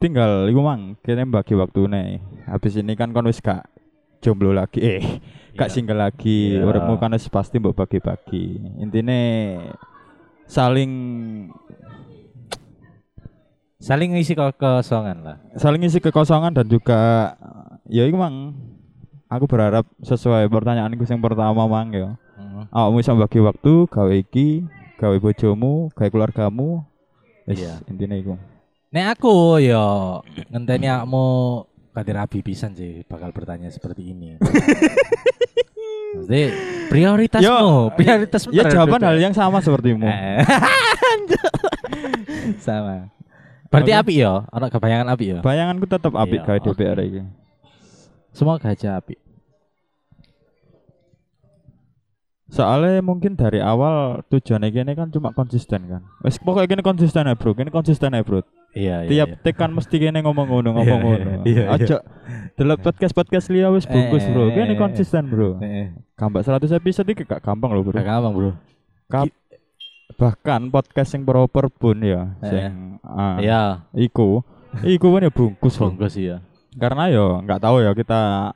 Speaker 1: tinggal iku mang, kene bagi waktune. Habis ini kan kon wis gak jomblo lagi. Eh, gak
Speaker 2: Iya.
Speaker 1: single lagi.
Speaker 2: Iya.
Speaker 1: Uripmu kan wis pasti mbok bagi-bagi. Intine saling
Speaker 2: Saling ngisi ke kosongan lah.
Speaker 1: saling isi kekosongan dan juga ya iku mang aku berharap sesuai pertanyaanku yang pertama mang ya.
Speaker 2: Heeh.
Speaker 1: awakmu bisa bagi waktu gawe iki gawe bojomu gawe keluargamu wis
Speaker 2: Iya.
Speaker 1: intine iku
Speaker 2: Nek aku yo
Speaker 1: Hmm.
Speaker 2: ngenteni akmu kate rabi pisan sih bakal bertanya seperti ini. Maksudnya prioritasmu,
Speaker 1: Yo,
Speaker 2: prioritas
Speaker 1: ya
Speaker 2: bentar,
Speaker 1: jawaban
Speaker 2: bentar.
Speaker 1: hal yang sama sepertimu
Speaker 2: Eh. Sama. Berarti
Speaker 1: Oke.
Speaker 2: api yo, ana kebayangan api yo.
Speaker 1: Nah. bayanganku tetap apik
Speaker 2: Iya.
Speaker 1: gawe DPR iki
Speaker 2: Semoga aja api.
Speaker 1: soalnya mungkin dari awal tujuannya gini kan cuma konsisten kan wis pokoknya gini konsisten ya bro gini konsisten ya bro
Speaker 2: Iya, iya.
Speaker 1: tiap tekan mesti gini ngomong ngono ngomong
Speaker 2: Iya,
Speaker 1: ngono
Speaker 2: iya, iya.
Speaker 1: aja delok podcast podcast liya wis bungkus bro
Speaker 2: Eh.
Speaker 1: gini konsisten bro
Speaker 2: Heeh.
Speaker 1: kambak 100 episode iki gak gampang loh bro
Speaker 2: Gak gampang, Bro.
Speaker 1: Kap- bahkan podcast yang proper pun ya
Speaker 2: Eh.
Speaker 1: sing ah,
Speaker 2: Iya,
Speaker 1: iku iku kan ya bungkus loh
Speaker 2: bungkus iya.
Speaker 1: karena yo nggak tahu ya kita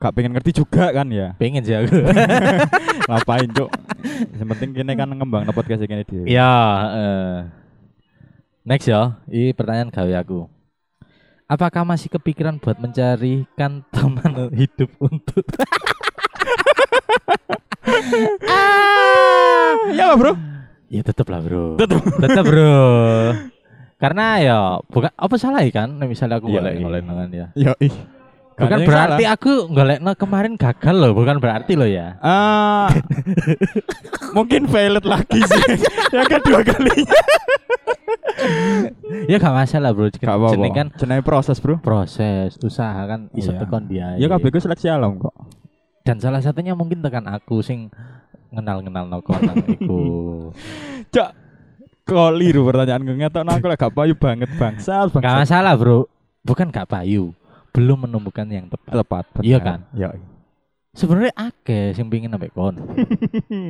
Speaker 1: gak pengen ngerti juga kan ya
Speaker 2: Pengen sih aku.
Speaker 1: ngapain cuk yang penting kini kan ngembang no podcast ini dia
Speaker 2: Ya, eh. next ya. Ini pertanyaan gawe aku. Apakah masih kepikiran buat mencarikan teman hidup untuk
Speaker 1: ya lah, bro
Speaker 2: Ya tetep lah bro. Tetep, bro. Karena ya bukan apa salah ya kan? Nah, misalnya aku
Speaker 1: Iya,
Speaker 2: golek
Speaker 1: iya.
Speaker 2: golek nangan ya.
Speaker 1: yo ih Gak
Speaker 2: Bukan
Speaker 1: ada yang
Speaker 2: berarti
Speaker 1: salah.
Speaker 2: aku golek kemarin gagal loh. Bukan berarti loh ya.
Speaker 1: Ah, mungkin violet lagi sih yang kedua kali
Speaker 2: Ya gak masalah bro.
Speaker 1: gak apa-apa
Speaker 2: Jeneng kan
Speaker 1: Jenenge proses bro
Speaker 2: proses usaha kan iso
Speaker 1: Iya.
Speaker 2: tekan dia.
Speaker 1: ya kabeh ku seleksi alam kok
Speaker 2: Dan salah satunya mungkin tekan aku sing ngenal kenal no konang iku.
Speaker 1: cok kok liru pertanyaan gue ngetok aku lah gak payu banget bangsat
Speaker 2: Gak
Speaker 1: bangsat
Speaker 2: masalah bro. Bukan gak payu. Belum menemukan yang tepat.
Speaker 1: tepat
Speaker 2: Iya
Speaker 1: bener.
Speaker 2: kan?
Speaker 1: yo
Speaker 2: Sebenarnya akeh sing pingin ambek kon.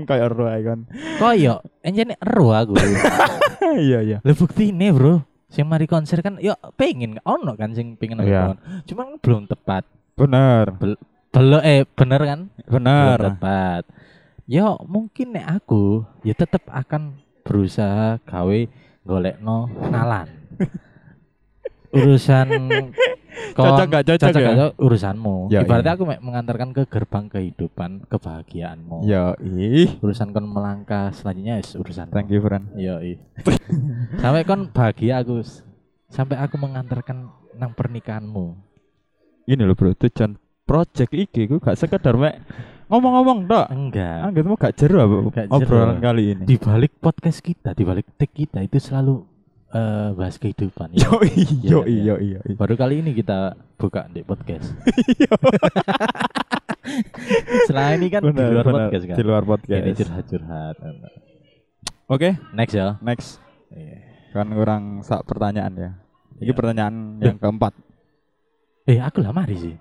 Speaker 1: kayak roh kan
Speaker 2: Koyo enjene ero aku.
Speaker 1: iya iya
Speaker 2: Lah bukti ini bro Sing mari konser kan yo pengen ono kan sing pengen
Speaker 1: Iya.
Speaker 2: nonton. Cuman belum tepat.
Speaker 1: benar
Speaker 2: Belum eh bener kan? Belum
Speaker 1: benar
Speaker 2: tepat. ya mungkin nek aku ya tetep akan berusaha gawe golekno nalan urusan
Speaker 1: Cocok
Speaker 2: kon-
Speaker 1: gak cocok, ya?
Speaker 2: cocok gak cocok urusanmu
Speaker 1: Ya, iya.
Speaker 2: ibaratnya aku mek mengantarkan ke gerbang kehidupan kebahagiaanmu
Speaker 1: Ya ih,
Speaker 2: urusan kon melangkah selanjutnya is urusan
Speaker 1: thank you friend.
Speaker 2: Yo, sampai kon bahagia aku s- sampai aku mengantarkan nang pernikahanmu
Speaker 1: Ini loh bro, tujuan project iki ku gak sekedar mek ngomong-ngomong tok.
Speaker 2: enggak
Speaker 1: Anggitmu gak jero apa
Speaker 2: Gak jero.
Speaker 1: obrolan kali ini.
Speaker 2: di balik podcast kita di balik tag kita itu selalu eh, bahas kehidupan ya.
Speaker 1: Yo
Speaker 2: Iya,
Speaker 1: iyo
Speaker 2: iya.
Speaker 1: iyo iyo. iyo.
Speaker 2: baru kali ini kita buka di podcast Iya. selain ini kan di
Speaker 1: Benar,
Speaker 2: luar
Speaker 1: benar.
Speaker 2: podcast kan
Speaker 1: Di luar
Speaker 2: ini
Speaker 1: podcast.
Speaker 2: curhat-curhat
Speaker 1: Oke,
Speaker 2: next ya
Speaker 1: next. Kan kurang sak pertanyaan ya. Ini
Speaker 2: Iya.
Speaker 1: pertanyaan yang keempat.
Speaker 2: eh aku lah mari sih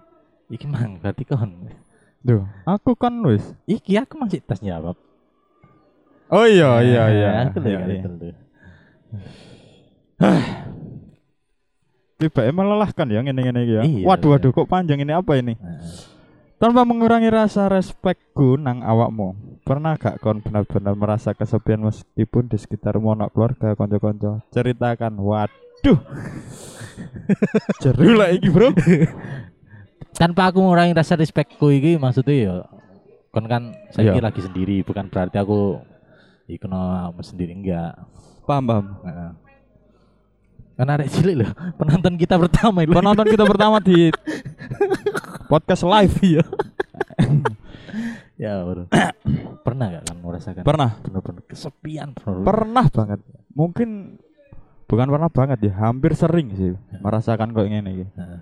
Speaker 2: iki mang berarti kon
Speaker 1: Duh, aku kan wis.
Speaker 2: iki aku masih Ah, tas nyawab
Speaker 1: Oh iya iya iya.
Speaker 2: Nah, aku
Speaker 1: Iya,
Speaker 2: lagi
Speaker 1: iya.
Speaker 2: iya.
Speaker 1: Tiba melelahkan ya ngene-ngene iki ya.
Speaker 2: Iya,
Speaker 1: Waduh
Speaker 2: iya.
Speaker 1: waduh kok panjang ini apa ini?
Speaker 2: Nah.
Speaker 1: Tanpa mengurangi rasa respekku nang awakmu, pernah gak kon benar-benar merasa kesepian meskipun di sekitar monok keluarga konco-konco? Ceritakan, waduh, jeru lah iki bro.
Speaker 2: tanpa aku mengurangi rasa respectku iki maksudnya ya kon kan saya
Speaker 1: Iya.
Speaker 2: lagi sendiri bukan berarti aku ikno sendiri enggak
Speaker 1: Paham paham.
Speaker 2: Heeh. Kan arek cilik loh, penonton kita pertama itu.
Speaker 1: Penonton kita pertama di podcast live ya.
Speaker 2: ya, bro. Pernah gak kan merasakan
Speaker 1: Pernah,
Speaker 2: bener-bener kesepian, bro?
Speaker 1: pernah banget. Mungkin bukan pernah banget ya, hampir sering sih merasakan kok ngene iki.
Speaker 2: Heeh.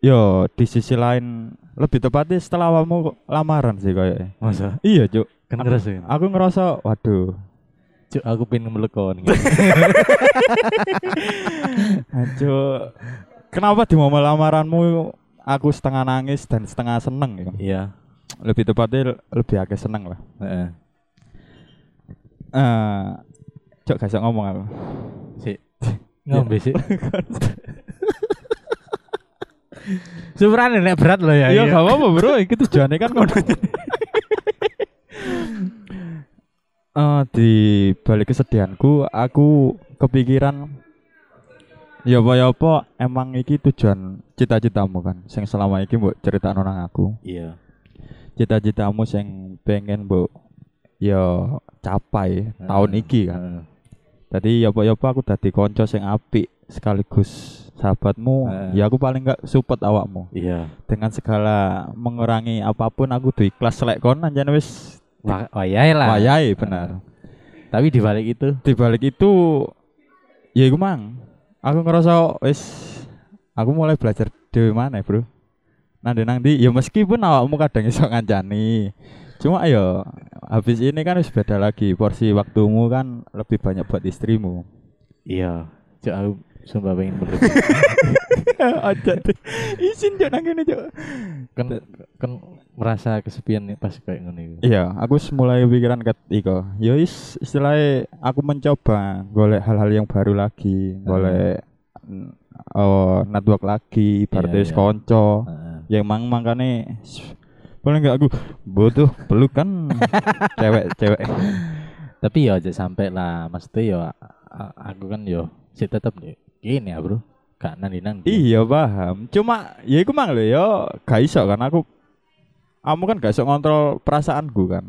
Speaker 1: Yo, di sisi lain lebih tepatnya setelah awakmu lamaran sih kayaknya.
Speaker 2: Masa?
Speaker 1: Iya, Cuk.
Speaker 2: Kan ngerasain.
Speaker 1: Aku ngerasa waduh,
Speaker 2: Cuk, aku pengen melekon.
Speaker 1: Aduh. Kenapa di momen lamaranmu aku setengah nangis dan setengah seneng ya?
Speaker 2: Iya.
Speaker 1: Lebih tepatnya lebih agak seneng lah.
Speaker 2: Heeh.
Speaker 1: Eh, cok gak bisa ngomong aku.
Speaker 2: Sik. Ngombe sik. Sebenarnya nek berat loh ya.
Speaker 1: Iya, gak apa-apa, Bro. Iki tujuannya kan ngono. Eh, di balik kesedihanku aku kepikiran ya apa ya apa emang iki tujuan cita-citamu kan sing selama iki mbok ceritakno nang aku
Speaker 2: Iya.
Speaker 1: cita-citamu sing pengen mbok ya capai
Speaker 2: Hmm.
Speaker 1: tahun iki kan.
Speaker 2: Heeh.
Speaker 1: Tadi yopo-yopo aku dadi konco sing apik sekaligus sahabatmu.
Speaker 2: Heeh.
Speaker 1: Ya aku paling gak support awakmu.
Speaker 2: Iya.
Speaker 1: Dengan segala mengurangi apapun aku duwe ikhlas lek kon anjane wis
Speaker 2: Wah, wayahe lah.
Speaker 1: wayahe bener.
Speaker 2: Tapi di balik itu
Speaker 1: Di balik itu ya iku mang. Aku ngerasa wis aku mulai belajar dhewe maneh, Bro. Nang ndi nang ndi ya meskipun awakmu kadang iso ngancani. Cuma ya habis ini kan wis beda lagi porsi waktumu kan lebih banyak buat istrimu.
Speaker 2: iya. Cuk, aku sumpah pengen melekon.
Speaker 1: Aja deh. Isin jok nang kene jok.
Speaker 2: kan kan merasa kesepian nih pas kayak ngono iku.
Speaker 1: Iya, aku wis mulai pikiran ket iko. Ya wis istilahnya aku mencoba golek hal-hal yang baru lagi, golek n- oh, network lagi, berarti
Speaker 2: Iya,
Speaker 1: wis
Speaker 2: iya.
Speaker 1: konco.
Speaker 2: Heeh.
Speaker 1: Yang mang mangkane s- boleh nggak aku butuh pelukan cewek-cewek.
Speaker 2: Tapi ya aja sampai lah maksudnya ya a- aku kan yo si tetep nih gini ya bro gak nandi nandi
Speaker 1: Iya paham. Cuma ya iku mang lho ya gak iso kan aku kamu kan gak iso ngontrol perasaanku kan.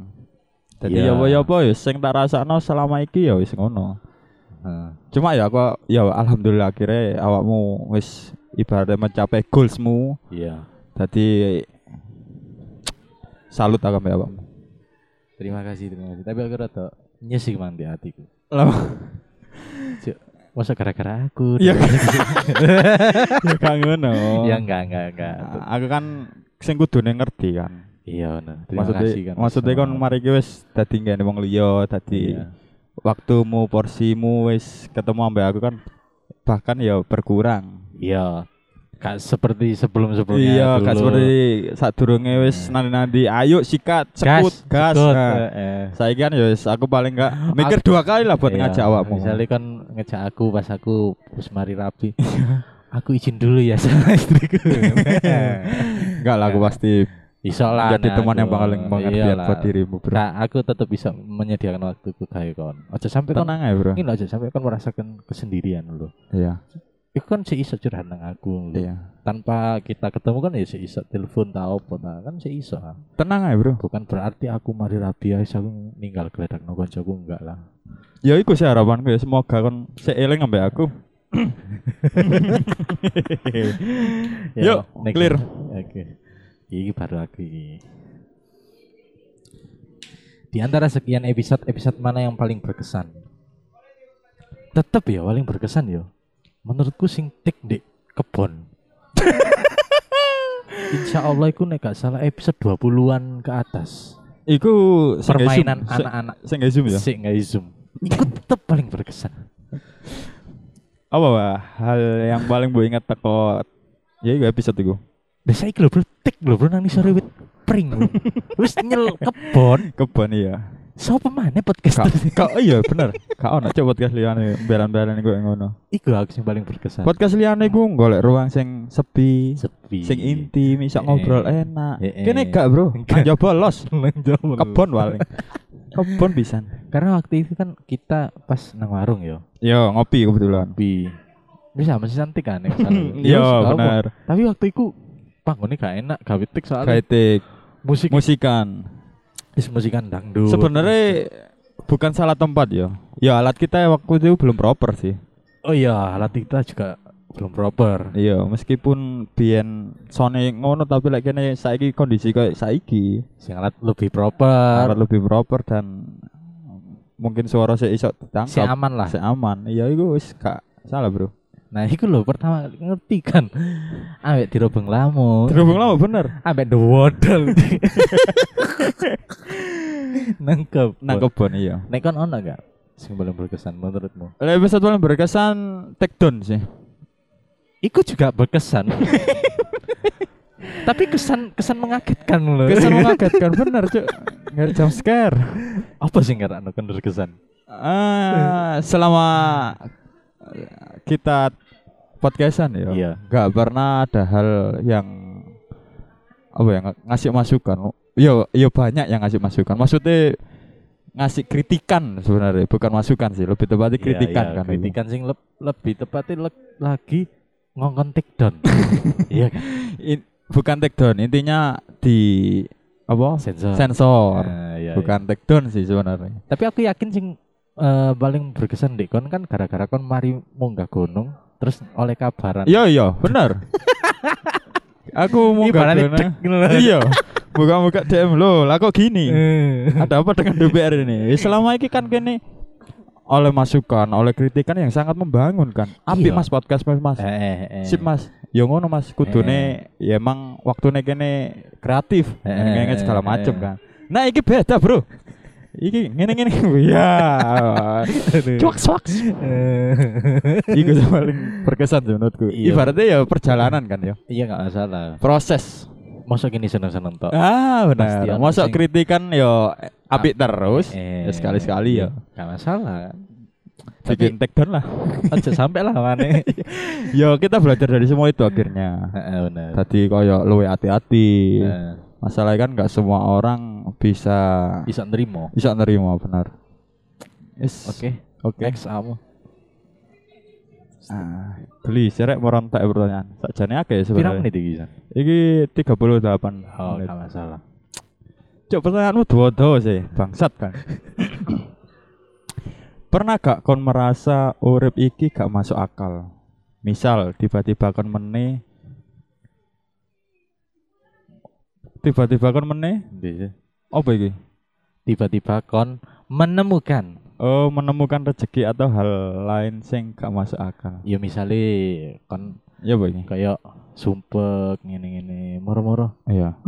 Speaker 1: Jadi ya
Speaker 2: Iya.
Speaker 1: apa ya apa ya sing tak rasakno selama iki ya wis ngono. Cuma ya aku ya alhamdulillah akhirnya awakmu wis ibaratnya mencapai goalsmu.
Speaker 2: iya
Speaker 1: Jadi salut aku ya, mbak awakmu.
Speaker 2: terima kasih terima kasih tapi aku rada nyesik mang di hatiku
Speaker 1: Lah,
Speaker 2: masa gara-gara aku
Speaker 1: Iya. ya gak ngono.
Speaker 2: ya enggak enggak enggak
Speaker 1: Nah, aku kan sing kudune ngerti kan.
Speaker 2: iya bener terima
Speaker 1: maksudnya,
Speaker 2: kasih kan
Speaker 1: maksudnya kan mari ki wis dadi nggane wong liya, dadi
Speaker 2: Iya.
Speaker 1: waktumu, porsimu wis ketemu ambek aku kan bahkan ya berkurang.
Speaker 2: iya gak seperti sebelum sebelumnya
Speaker 1: Iya, gak seperti sadurunge wis nanti-nanti ayo sikat, sekut, gas. nah.
Speaker 2: Eh,
Speaker 1: Saya kan ya wis aku Iya, paling gak mikir dua kali lah buat ngajak awakmu.
Speaker 2: Iya, Misalnya kan ngejak aku pas aku wis mari rapi.
Speaker 1: Iya.
Speaker 2: aku izin dulu ya sama istriku.
Speaker 1: Enggak lah iya. aku Iya pasti
Speaker 2: Iso lah.
Speaker 1: Jadi
Speaker 2: nah,
Speaker 1: teman yang
Speaker 2: aku.
Speaker 1: paling mengerti
Speaker 2: Iyalah.
Speaker 1: buat dirimu, Bro.
Speaker 2: Nah, aku tetap bisa menyediakan waktuku kayak kon. Aja sampai kon
Speaker 1: Tenang aja, Bro.
Speaker 2: ini loh, aja sampai kon merasakan kesendirian lo.
Speaker 1: Iya,
Speaker 2: Iku kan si iso curhat nang aku lho.
Speaker 1: iya.
Speaker 2: Tanpa kita ketemu kan ya si iso telepon tau apa ta. kan si iso.
Speaker 1: Tenang aja, Bro.
Speaker 2: Bukan berarti aku mari rabi ae aku ninggal geledak nang kancaku enggak lah.
Speaker 1: Ya iku sih harapanku ya semoga kon seeling ambek aku. Yuk,
Speaker 2: Ya, next.
Speaker 1: clear.
Speaker 2: Oke. Ini baru aku ini. Di antara sekian episode, episode mana yang paling berkesan? Tetep ya paling berkesan ya. Menurutku sing tik di kebon. Insya Allah aku nek gak salah episode 20-an ke atas.
Speaker 1: Iku sing nge-zoom,
Speaker 2: Permainan
Speaker 1: sing-
Speaker 2: anak-anak
Speaker 1: Sing nge-zoom ya.
Speaker 2: sing nggak zoom. Iku tetep paling berkesan.
Speaker 1: Apa wah hal yang paling gue ingat teko ya iku episode iku.
Speaker 2: Biasa iki lho bro, tik lho bro nang sore wit pring. lho. Wis nyel kebon.
Speaker 1: Kebon iya.
Speaker 2: Sopo mana podcast?
Speaker 1: Kak, kak iya bener. Kak ono coba podcast liyane beran-beran gue ngono.
Speaker 2: Iku aku sing paling berkesan.
Speaker 1: Podcast liyane gue golek ruang sing sepi,
Speaker 2: sepi.
Speaker 1: sing intim, bisa
Speaker 2: Eh.
Speaker 1: ngobrol enak.
Speaker 2: Eh, eh.
Speaker 1: Kene gak, Bro.
Speaker 2: Enggak.
Speaker 1: Nang Coba los.
Speaker 2: Kebon.
Speaker 1: Kebon paling. Kebon pisan.
Speaker 2: Karena waktu itu kan kita pas nang warung yo.
Speaker 1: Yo ngopi kebetulan.
Speaker 2: Bi. Bisa masih cantik kan yang salah. Ya,
Speaker 1: Yo
Speaker 2: wis, gak apa.
Speaker 1: bener.
Speaker 2: Tapi waktu itu panggungnya gak enak, gak witik soalnya
Speaker 1: Kaitik
Speaker 2: musik
Speaker 1: musikan.
Speaker 2: is musikan dangdut.
Speaker 1: Sebenarnya bukan salah tempat ya. Ya alat kita waktu itu belum proper sih.
Speaker 2: oh iya, alat kita juga belum proper.
Speaker 1: Iya, meskipun biyen sone ngono tapi lek kene saiki kondisi kayak saiki
Speaker 2: Sing alat lebih proper.
Speaker 1: alat lebih proper dan mungkin suara saya iso
Speaker 2: Si
Speaker 1: ditangkap.
Speaker 2: aman lah.
Speaker 1: Si aman. Iya iku wis gak salah, Bro.
Speaker 2: Nah, itu loh pertama kali ngerti kan. Ambek dirobeng lamun.
Speaker 1: Terhubung lama bener.
Speaker 2: Ambek the waddle. Nangkep.
Speaker 1: Nang kebon iya.
Speaker 2: Nek kon ono gak? Sing paling berkesan menurutmu?
Speaker 1: Lah episode paling berkesan take down sih.
Speaker 2: Iku juga berkesan. Tapi kesan kesan mengagetkan loh.
Speaker 1: Kesan mengagetkan bener, Cuk. Nggak ada jump scare.
Speaker 2: apa sih nggak ono kan berkesan?
Speaker 1: Eh, selama eh, kita podcastan ya,
Speaker 2: Iya.
Speaker 1: nggak pernah ada hal yang apa ya ng- ngasih masukan. Yo, yo banyak yang ngasih masukan. Maksudnya ngasih kritikan sebenarnya, bukan masukan sih. Lebih tepatnya kritikan
Speaker 2: Iya, iya,
Speaker 1: kan. itu.
Speaker 2: Kritikan sing leb- lebih tepatnya le- lagi ngongkon take down. iya kan?
Speaker 1: In- bukan take down, intinya di apa?
Speaker 2: Sensor.
Speaker 1: Sensor.
Speaker 2: Ah, iya,
Speaker 1: bukan take down sih sebenarnya.
Speaker 2: iya. Tapi aku yakin sing eh, paling berkesan dek kon kan gara-gara kon mari munggah gunung terus oleh kabaran.
Speaker 1: Iya iya, bener. Aku mau nggak
Speaker 2: barangnya
Speaker 1: down,
Speaker 2: cek gitu loh.
Speaker 1: eh. Iya. Buka-buka DM lo, lah kok
Speaker 2: Eh.
Speaker 1: gini? Ada apa dengan DPR ini? Eh, Selama ini kan gini oleh masukan, oleh kritikan yang sangat membangunkan. Apik
Speaker 2: Iya.
Speaker 1: Mas podcast Mas. mas.
Speaker 2: Eh, eh, eh.
Speaker 1: Sip Mas. Ya ngono Mas, kudune ya emang waktune kene kreatif,
Speaker 2: Eh,
Speaker 1: ngene segala
Speaker 2: eh,
Speaker 1: macem
Speaker 2: eh.
Speaker 1: kan. Nah, iki beda, Bro. Iki ngene-ngene ya. Cuak cuak Iku sing paling berkesan sih menurutku.
Speaker 2: Iya.
Speaker 1: Ibaratnya ya perjalanan kan ya.
Speaker 2: Iya nggak masalah.
Speaker 1: Proses.
Speaker 2: Masuk gini seneng-seneng tok.
Speaker 1: Ah
Speaker 2: Pasti
Speaker 1: benar.
Speaker 2: ono
Speaker 1: Mosok
Speaker 2: sing-
Speaker 1: kritikan yo apik terus.
Speaker 2: Ah. Eh,
Speaker 1: ya sekali-sekali ya.
Speaker 2: Gak masalah.
Speaker 1: Bikin take down lah. Iya.
Speaker 2: aja sampai lah mana.
Speaker 1: yo kita belajar dari semua itu akhirnya.
Speaker 2: Benar.
Speaker 1: Tadi koyo luwe hati-hati.
Speaker 2: Eh. Nah,
Speaker 1: Masalahnya kan nggak semua orang bisa
Speaker 2: Bisa nerimo.
Speaker 1: bisa nerima benar. Yes.
Speaker 2: Oke.
Speaker 1: Oke.
Speaker 2: Next kamu.
Speaker 1: Ah, beli serek merontak pertanyaan. Sakjane akeh ya
Speaker 2: Pirang
Speaker 1: sebenarnya.
Speaker 2: menit iki bisa.
Speaker 1: Iki 38
Speaker 2: Oh,
Speaker 1: menit.
Speaker 2: gak masalah.
Speaker 1: Cuk pertanyaanmu dua-dua sih, bangsat kan. Pernah gak kon merasa urip iki gak masuk akal? Misal tiba-tiba kon meneh tiba-tiba kon meneh apa iki?
Speaker 2: Tiba-tiba kon menemukan
Speaker 1: Oh, menemukan rezeki atau hal lain sing gak masuk akal.
Speaker 2: ya misalnya kon
Speaker 1: Ya apa iki?
Speaker 2: kayak sumpek ngene-ngene moro-moro
Speaker 1: Iya.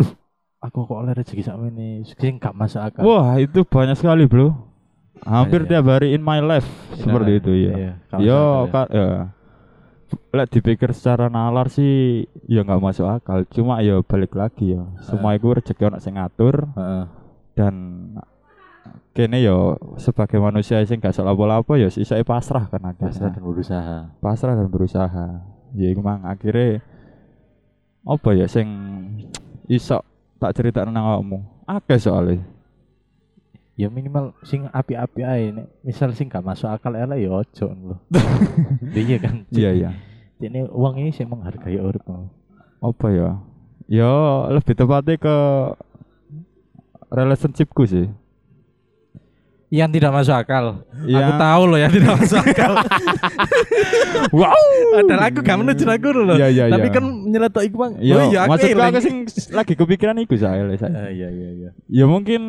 Speaker 2: aku kok oleh rezeki sama ini sing gak masuk akal
Speaker 1: Wah, itu banyak sekali, Bro. Hampir
Speaker 2: Iya.
Speaker 1: tiap hari in my life seperti itu ya.
Speaker 2: gak masuk
Speaker 1: Yo,
Speaker 2: akal ya.
Speaker 1: kak, ya. Lek dipikir secara nalar sih ya nggak masuk akal. Cuma ya balik lagi ya.
Speaker 2: Eh.
Speaker 1: Semua itu rezeki orang sing ngatur
Speaker 2: Heeh.
Speaker 1: dan kene yo sebagai manusia sing gak salah apa-apa ya sisa pasrah kan akhirnya.
Speaker 2: pasrah dan berusaha
Speaker 1: pasrah dan berusaha. Ya iku mang akhirnya apa ya sing iso tak cerita nang awakmu. Akeh soalnya.
Speaker 2: ya minimal sing api-api ae nek misal sing gak masuk akal elek ya ojo lho. Iya kan.
Speaker 1: Iya iya.
Speaker 2: Ini uang ini sing menghargai urip.
Speaker 1: Apa ya? Ya lebih tepatnya ke relationshipku sih.
Speaker 2: Yang tidak masuk akal. Aku
Speaker 1: Yang-
Speaker 2: tahu loh yang tidak masuk akal.
Speaker 1: wow.
Speaker 2: Padahal aku gak menuju aku loh.
Speaker 1: Iya, iya,
Speaker 2: Tapi
Speaker 1: iya.
Speaker 2: kan Oh iya, nyeletuk iku Bang.
Speaker 1: Yo, maksudku
Speaker 2: eling.
Speaker 1: aku sing lagi kepikiran iku soalnya. Sa.
Speaker 2: Eh, Iya iya iya.
Speaker 1: Ya mungkin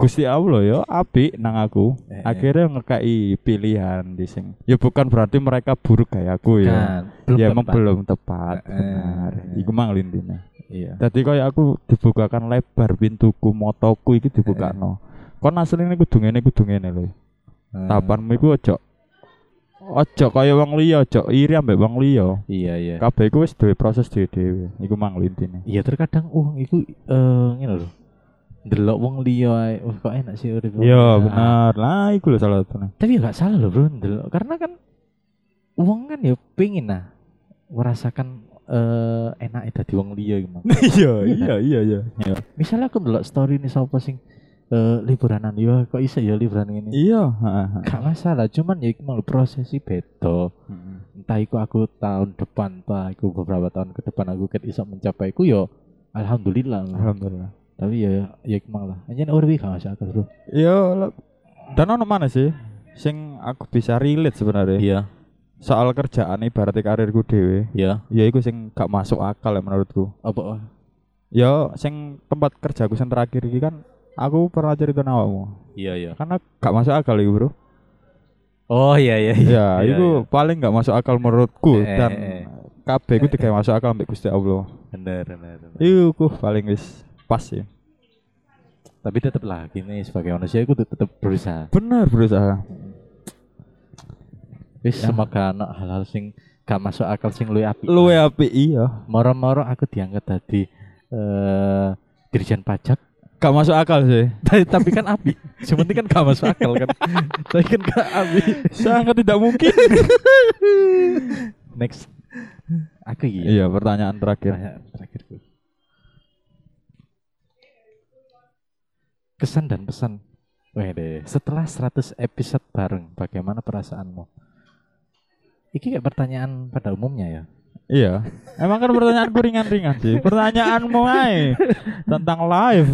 Speaker 1: Gusti Allah ya apik nang aku.
Speaker 2: Eh, eh.
Speaker 1: Akhirnya ngekai pilihan di sing. Ya bukan berarti mereka buruk kayak aku ya.
Speaker 2: Kan, belum
Speaker 1: ya
Speaker 2: tepat.
Speaker 1: emang belum tepat.
Speaker 2: Eh, eh,
Speaker 1: Benar.
Speaker 2: eh.
Speaker 1: Iku mang lintine.
Speaker 2: Iya.
Speaker 1: Dadi kaya aku dibukakan lebar pintuku, motoku iki dibukakno.
Speaker 2: Eh.
Speaker 1: Kon asline kudu ngene kudu ngene lho. Tapanmu iku ojo ojo kaya wong liya, ojo iri ambek wong liya.
Speaker 2: Iya iya.
Speaker 1: Kabeh iku wis duwe proses dhewe-dhewe. Iku mang lintine.
Speaker 2: Iya terkadang uang itu eh ngene lho. Delok wong liya ae, "Wah, kok enak sih urip.
Speaker 1: Iya,
Speaker 2: Ah,
Speaker 1: bener. Lah iku lho salah satunya.
Speaker 2: tapi ya gak salah loh bro ndelok. karena kan uang kan ya pengen lah merasakan eh enak itu di uang liya gitu
Speaker 1: Iya, iya, iya, iya.
Speaker 2: misalnya aku ndelok story ini siapa sing eh liburanan ya kok iso ya liburan ini
Speaker 1: Iya, heeh.
Speaker 2: gak masalah cuman ya mau prosesi beda entah iku aku tahun depan entah iku beberapa tahun ke depan aku ket iso mencapai ku yo alhamdulillah lah.
Speaker 1: Alhamdulillah.
Speaker 2: tapi ya ya iku lah hanya urwi gak masuk akal bro
Speaker 1: Iya, le- dan ono mana sih sing aku bisa relate sebenarnya.
Speaker 2: iya
Speaker 1: Soal kerjaan ibaratnya karirku dhewe.
Speaker 2: iya
Speaker 1: Ya iku sing gak masuk akal ya menurutku.
Speaker 2: apa oh?
Speaker 1: Ya, sing tempat kerjaku sing terakhir iki kan aku pernah cerita nang awakmu.
Speaker 2: iya iya
Speaker 1: Karena gak masuk akal iki, Bro.
Speaker 2: oh iya iya
Speaker 1: Ya,
Speaker 2: Iya,
Speaker 1: iku paling gak masuk akal menurutku
Speaker 2: Eh,
Speaker 1: dan
Speaker 2: eh, eh.
Speaker 1: kabeh iku digawe masuk akal mbek Gusti Allah.
Speaker 2: iya. bener bener, bener.
Speaker 1: Iku ku paling wis pas sih.
Speaker 2: tapi tetap lah gini sebagai manusia aku tetap berusaha
Speaker 1: Bener berusaha.
Speaker 2: wis semoga anak hal-hal sing gak masuk akal sing Ya. luwih apik
Speaker 1: Luwe apik iya.
Speaker 2: moro-moro aku diangkat tadi eh dirjen pajak
Speaker 1: Gak masuk akal sih.
Speaker 2: tapi, tapi kan apik yang penting kan gak masuk akal kan tapi kan gak apik
Speaker 1: Sangat tidak mungkin.
Speaker 2: next aku iya
Speaker 1: iya, pertanyaan terakhir.
Speaker 2: Tanya terakhirku kesan dan pesan Wede, setelah 100 episode bareng, bagaimana perasaanmu? Iki kayak pertanyaan pada umumnya ya.
Speaker 1: Iya. Emang kan pertanyaanku ringan-ringan sih. Pertanyaanmu ae tentang live.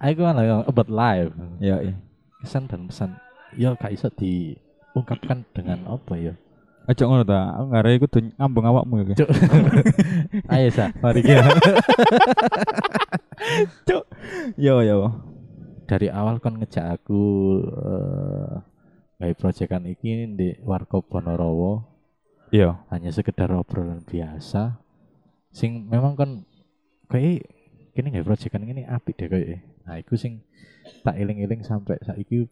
Speaker 2: Aku kan lagi about life,
Speaker 1: Ya, iya.
Speaker 2: kesan dan pesan. Ya gak iso diungkapkan dengan apa ya.
Speaker 1: Aja ngono ta, aku ngare iku dun- ngambung awakmu ya, iki.
Speaker 2: Cuk. Ayo sa, mari kita.
Speaker 1: Yo yo.
Speaker 2: Dari awal kon ngejak aku eh gawe proyekan iki di Warkop Bonorowo.
Speaker 1: Iya.
Speaker 2: hanya sekedar obrolan biasa sing memang kan kayak kini nggak proyekan ini apik deh kayak nah iku sing tak iling-iling sampai saiki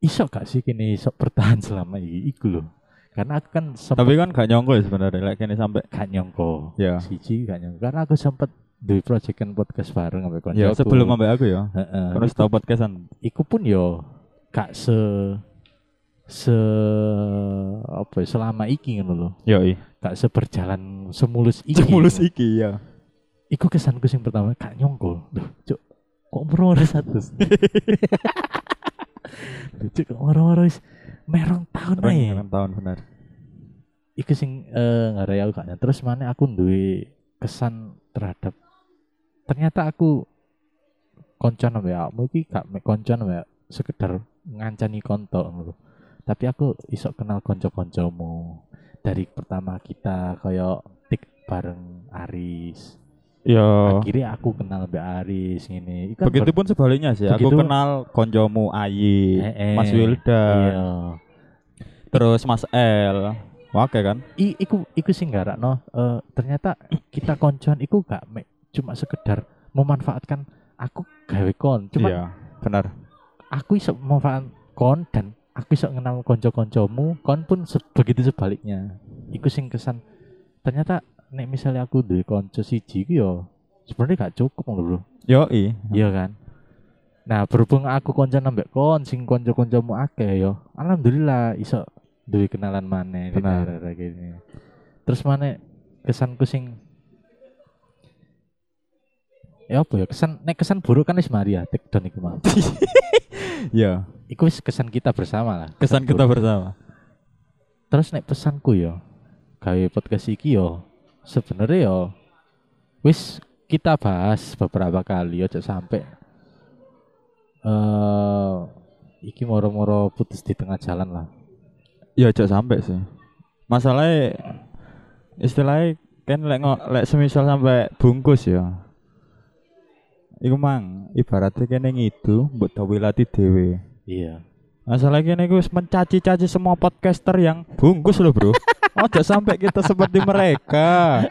Speaker 2: iso gak sih kini iso bertahan selama iki iku loh karena aku kan sempat
Speaker 1: Tapi kan gak nyongko ya sebenarnya lek kene sampe
Speaker 2: gak nyongko
Speaker 1: Ya.
Speaker 2: siji gak nyongko karena aku sempat duwe proyekan podcast bareng sampai koncoku
Speaker 1: ya sebelum sampe aku ya.
Speaker 2: Heeh.
Speaker 1: Terus tau podcastan.
Speaker 2: iku pun yo gak se se apa ya, selama iki ngono loh
Speaker 1: Yo iya. i.
Speaker 2: gak seberjalan semulus iki.
Speaker 1: iki ya.
Speaker 2: Iku kesanku sing pertama gak nyongko. Loh, Cuk, kok moro-moro satu. Loh, Cuk, kok moro-moro wis merong
Speaker 1: Iya.
Speaker 2: tahun ae.
Speaker 1: Reng tahun benar.
Speaker 2: Iku sing eh ngarai aku gak nyangka. Terus mana aku duwe kesan terhadap ternyata aku koncan ambek awakmu iki gak mek koncan ambek sekedar ngancani konto ngono lho. Tapi aku isok kenal konco-koncomu dari pertama kita koyo tik bareng Aris.
Speaker 1: Yo.
Speaker 2: Akhirnya aku kenal Mbak Aris ini. Ikan
Speaker 1: Begitupun sebaliknya sih. Aku
Speaker 2: kan Begitu-
Speaker 1: kenal konjomu Ayi,
Speaker 2: Eh, eh.
Speaker 1: Mas Wilda,
Speaker 2: Iya.
Speaker 1: terus Mas L. Oke kan?
Speaker 2: I, iku iku sing garakno eh, ternyata kita koncoan iku gak mek cuma sekedar memanfaatkan aku gawe kon. Cuma
Speaker 1: Iya, benar.
Speaker 2: aku iso memanfaatkan kon dan aku iso kenal konco-koncomu, kon pun se- begitu sebaliknya. Iku sing kesan ternyata nek misalnya aku duwe konco siji iku yo sebenarnya gak cukup ngono lho.
Speaker 1: Yo i.
Speaker 2: Iya kan. Nah, berhubung aku konco nambah kon, sing konco-koncomu akeh yo. Alhamdulillah iso duwe kenalan maneh di
Speaker 1: Benar.
Speaker 2: daerah gini. Terus maneh kesanku sing ya apa ya kesan nek kesan buruk kan wis mari ya take down iku mah.
Speaker 1: Ya,
Speaker 2: Iku wis kesan kita bersama lah.
Speaker 1: kesan
Speaker 2: buruk.
Speaker 1: kita bersama.
Speaker 2: terus nek pesanku yo gawe podcast iki yo sebenarnya yo wis kita bahas beberapa kali aja sampai eh iki moro-moro putus di tengah jalan lah Iya,
Speaker 1: Ya cok sampai sih. Masalahnya istilahnya kan lek ngo- lek semisal sampai bungkus ya. Iku mang ibaratnya kene ngidu mbok dawilati dhewe.
Speaker 2: iya
Speaker 1: Masalah Nah, kene iku wis mencaci-caci semua podcaster yang bungkus loh, Bro. Ojo sampai kita seperti mereka.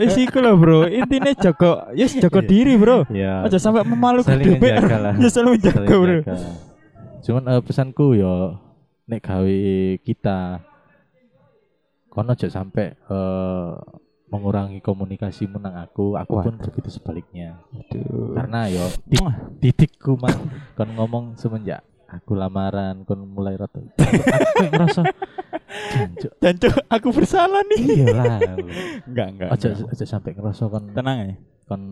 Speaker 1: Wis iku loh, Bro. Intinya jago, yes jago
Speaker 2: Iya.
Speaker 1: diri, Bro.
Speaker 2: iya
Speaker 1: Ojo sampai memalukan
Speaker 2: saling
Speaker 1: dhewe.
Speaker 2: menjaga lah
Speaker 1: Ya selalu
Speaker 2: saling
Speaker 1: jago, Bro.
Speaker 2: menjaga. cuman eh, pesanku yo nek gawe kita kono aja sampai eh, mengurangi komunikasi menang aku aku pun begitu sebaliknya karena yo di-
Speaker 1: Muah.
Speaker 2: titikku mah kon ngomong semenjak aku lamaran kon mulai rata aku kayak ngerasa jancuk
Speaker 1: Dan Cok, aku bersalah nih.
Speaker 2: iya lah
Speaker 1: Enggak, enggak.
Speaker 2: aja
Speaker 1: enggak.
Speaker 2: aja sampai ngerasa kon
Speaker 1: Tenang ya.
Speaker 2: kon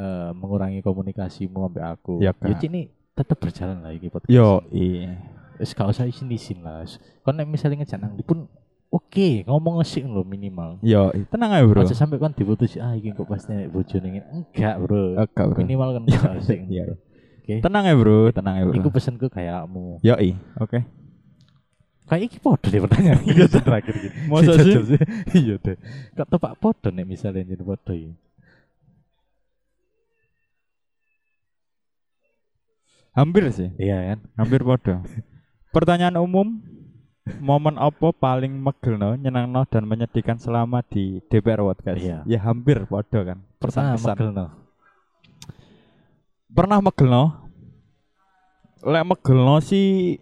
Speaker 2: eh, mengurangi komunikasimu sampai aku
Speaker 1: Ya, Kak.
Speaker 2: ini tetap berjalan lah iki podcast
Speaker 1: Yo, iya.
Speaker 2: wis gak usah isin isin lah Wis, kon nek misalnya ngejak nang ndi pun oke ngomong sih lo minimal
Speaker 1: Yo, i- tenang aja, Bro.
Speaker 2: aja sampai kon diputus ah iki kok pasti nek bojone ngene." enggak bro
Speaker 1: Enggak, Bro.
Speaker 2: minimal kan ngejak sing.
Speaker 1: Iya.
Speaker 2: Oke.
Speaker 1: Tenang ya, Bro. Tenang ya, Bro.
Speaker 2: Iku pesenku kayakmu.
Speaker 1: Yo, i. Oke.
Speaker 2: Kayak iki podo deh pertanyaan iki terakhir iki.
Speaker 1: Iya, Masa
Speaker 2: Si
Speaker 1: sih?
Speaker 2: Jojo sih? Iya deh. Kok tepak podo nek misalnya jadi podo iki.
Speaker 1: Hampir sih.
Speaker 2: Iya kan?
Speaker 1: Hampir podo. Pertanyaan umum, momen apa paling megelno, nyenengno dan menyedihkan selama di DPR Podcast?
Speaker 2: Iya.
Speaker 1: Ya hampir podo kan.
Speaker 2: Pernah
Speaker 1: Pesan-pesan.
Speaker 2: megelno.
Speaker 1: Pernah megelno? Lek megelno sih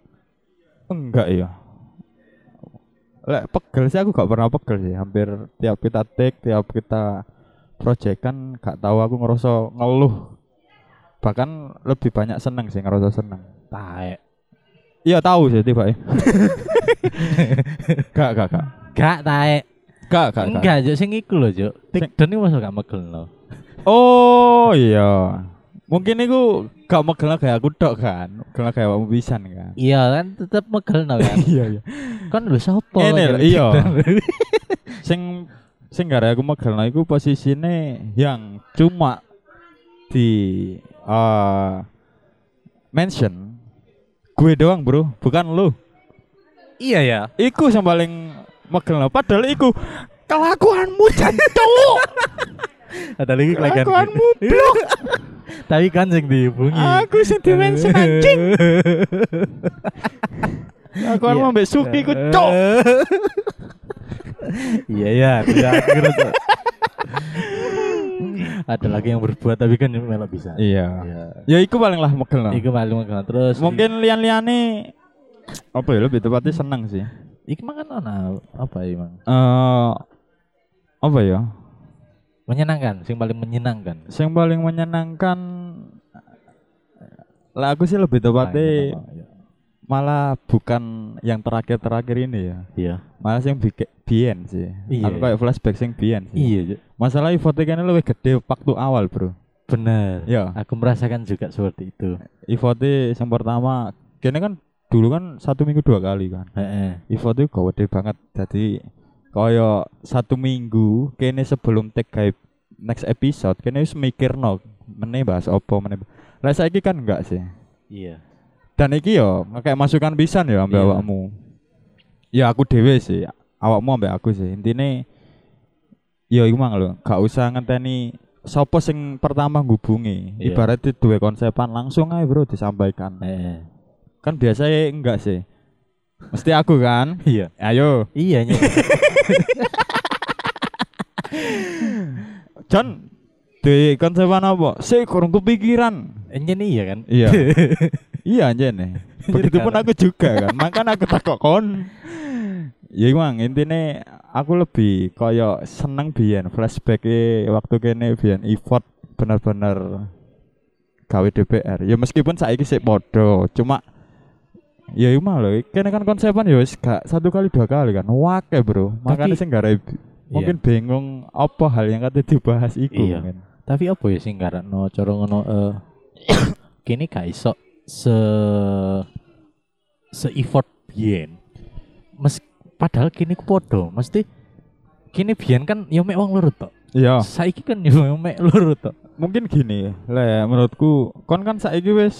Speaker 1: enggak ya. Lek pegel sih aku gak pernah pegel sih. Hampir tiap kita take, tiap kita project kan gak tahu aku ngerasa ngeluh. Bahkan lebih banyak seneng sih ngerasa seneng.
Speaker 2: Taek.
Speaker 1: Iya tahu sih tiba ya. gak gak gak.
Speaker 2: Gak taek.
Speaker 1: Gak gak gak.
Speaker 2: Enggak, Juk sing iku lho, Juk.
Speaker 1: Sing-
Speaker 2: Tikdon iki masuk gak megelno.
Speaker 1: Oh iya. Mungkin iku gak megelno kayak aku tok kan. Megelno kayak awakmu pisan kan.
Speaker 2: Iya kan tetep megelno kan.
Speaker 1: Iya iya.
Speaker 2: Kon lho sapa?
Speaker 1: Ngene
Speaker 2: kan,
Speaker 1: lho, iya.
Speaker 2: Tikdon?
Speaker 1: Sing sing gak ada aku megelno iku posisine yang cuma di eh mention gue doang bro bukan lu
Speaker 2: Iya ya.
Speaker 1: iku yang paling megelno padahal iku kelakuanmu jancuk
Speaker 2: Ada lagi kelakuan.
Speaker 1: kelakuanmu blok
Speaker 2: Tapi kan sing dihubungi.
Speaker 1: Aku sing dimension anjing. Aku kan
Speaker 2: Iya.
Speaker 1: mau mbek Suki ku cok.
Speaker 2: Iya ya, aku ya, aku ngerasa. Ada lagi yang berbuat tapi kan melok bisa.
Speaker 1: Iya.
Speaker 2: Iya.
Speaker 1: Ya iku paling lah megel lah.
Speaker 2: Iku malu makan terus.
Speaker 1: Mungkin lian-liane apa ya lebih tepatnya seneng sih.
Speaker 2: iki makan kan ana apa ya, Mang?
Speaker 1: Eh apa ya?
Speaker 2: Menyenangkan, sing paling menyenangkan.
Speaker 1: Yang paling menyenangkan lah aku sih lebih
Speaker 2: Nah,
Speaker 1: tepatnya
Speaker 2: Paling iya. apa,
Speaker 1: malah bukan yang terakhir-terakhir ini ya.
Speaker 2: Iya.
Speaker 1: Malah sing bi- biyen sih.
Speaker 2: Iya,
Speaker 1: Aku kayak flashback sing biyen sih.
Speaker 2: Iya, Cuk.
Speaker 1: Masalah Ivote kan lebih gede waktu awal, Bro.
Speaker 2: bener.
Speaker 1: Ya.
Speaker 2: Aku merasakan juga seperti itu.
Speaker 1: Iya. Ivote yang pertama kene kan dulu kan satu minggu dua kali kan
Speaker 2: Heeh.
Speaker 1: Ivote gede banget jadi koyo satu minggu kene sebelum take gaib next episode kene wis mikirno meneh bahas apa meneh lah saiki kan enggak sih
Speaker 2: Iya.
Speaker 1: dan iki yo kayak masukan pisan ya ambek
Speaker 2: Iya.
Speaker 1: awakmu ya aku dhewe sih awakmu ambek aku sih intine ya iku mang lho gak usah ngenteni sapa sing pertama ngubungi
Speaker 2: Iya.
Speaker 1: ibaratnya duwe konsepan langsung aja bro disampaikan
Speaker 2: Heeh.
Speaker 1: kan biasanya enggak sih mesti aku kan
Speaker 2: Iya.
Speaker 1: ayo
Speaker 2: Iya, Nyek.
Speaker 1: John di konsepan apa sih kurang kepikiran
Speaker 2: Enyen iya kan?
Speaker 1: iya iya aja nih begitupun aku juga kan makanya aku takok kon ya emang intinya aku lebih koyo seneng biyen flashback e waktu kene biyen effort bener-bener gawe DPR ya meskipun saiki sik podo cuma ya emang loh kene kan konsepan ya wis gak satu kali dua kali kan wake bro makanya
Speaker 2: Tapi-
Speaker 1: sing gak ada- mungkin bingung apa hal yang kate dibahas iku
Speaker 2: Iya.
Speaker 1: mungkin.
Speaker 2: Tapi apa ya sing karena cara ngono eh, kini gak iso se se effort biyen. Mes padahal kini ku podo, mesti kini biyen kan yo mek wong loro tok.
Speaker 1: Iya,
Speaker 2: Saiki kan yo mek loro tok.
Speaker 1: mungkin gini. Lah menurutku kon kan saiki wis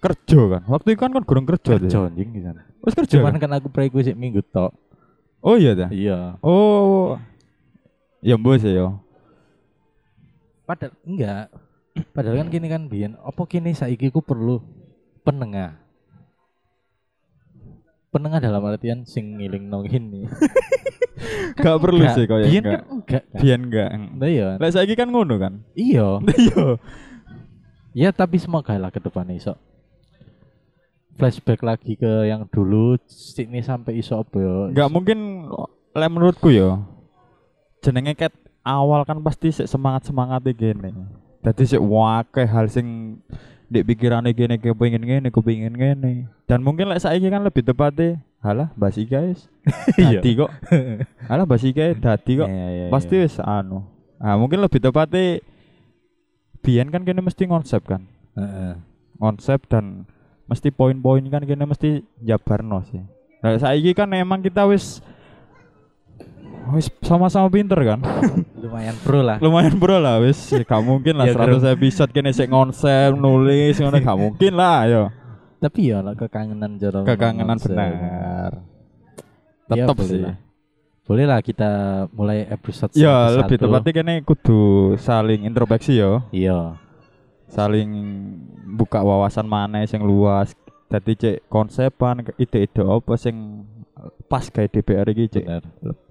Speaker 1: kerja kan. Waktu itu kan kon gurung kerja. Deh.
Speaker 2: Kerja anjing di sana.
Speaker 1: Wis kerja.
Speaker 2: Cuman
Speaker 1: kan?
Speaker 2: kan aku pray sik minggu tok.
Speaker 1: Oh iya dah.
Speaker 2: Iya.
Speaker 1: Oh. Ya mbok sih yo.
Speaker 2: Padahal enggak. Padahal kan kini kan biyen apa kini saiki ku perlu penengah. Penengah dalam artian sing ngiling gini.
Speaker 1: Gak perlu sih ya, kaya
Speaker 2: Biyen
Speaker 1: enggak.
Speaker 2: kan enggak. kan?
Speaker 1: Biyen enggak.
Speaker 2: Nah, iya.
Speaker 1: Lah saiki kan ngono kan.
Speaker 2: Iya.
Speaker 1: Iya.
Speaker 2: Ya tapi semoga lah ke depannya iso flashback lagi ke yang dulu sini sampai iso apa ya?
Speaker 1: Enggak mungkin lah menurutku yo. Jenenge ket awal kan pasti sik semangat-semangat e gini. Dadi sik wakeh hal sing di pikirane gini kepengin ngene, kepengin ngene. Dan mungkin lek saiki kan lebih tepatnya halah bahas iki guys.
Speaker 2: Iya.
Speaker 1: Dadi kok. Halah bahas iki ae dadi kok.
Speaker 2: Iya, iya,
Speaker 1: Pasti
Speaker 2: iya.
Speaker 1: wis anu. Ah mungkin lebih tepatnya biyen kan kene mesti konsep kan.
Speaker 2: Heeh.
Speaker 1: konsep dan mesti poin-poin kan kene mesti jabarno sih. Nah, saiki kan emang kita wis wis sama-sama pinter kan.
Speaker 2: lumayan pro lah.
Speaker 1: Lumayan bro lah wis gak mungkin lah
Speaker 2: Ya,
Speaker 1: 100 episode kene sik konsep nulis ngono gak mungkin lah yo.
Speaker 2: Tapi ya lah kekangenan jorong.
Speaker 1: Kekangenan
Speaker 2: Nonsen.
Speaker 1: benar.
Speaker 2: Ya,
Speaker 1: Tetep
Speaker 2: boleh
Speaker 1: sih.
Speaker 2: lah. Boleh lah kita mulai episode
Speaker 1: Ya
Speaker 2: satu-satu.
Speaker 1: lebih tepatnya kene kudu saling introspeksi yo,
Speaker 2: Iya.
Speaker 1: saling buka wawasan mana sing luas. Jadi cek konsepan ide-ide apa sing pas kayak DPR iki cek.
Speaker 2: Benar.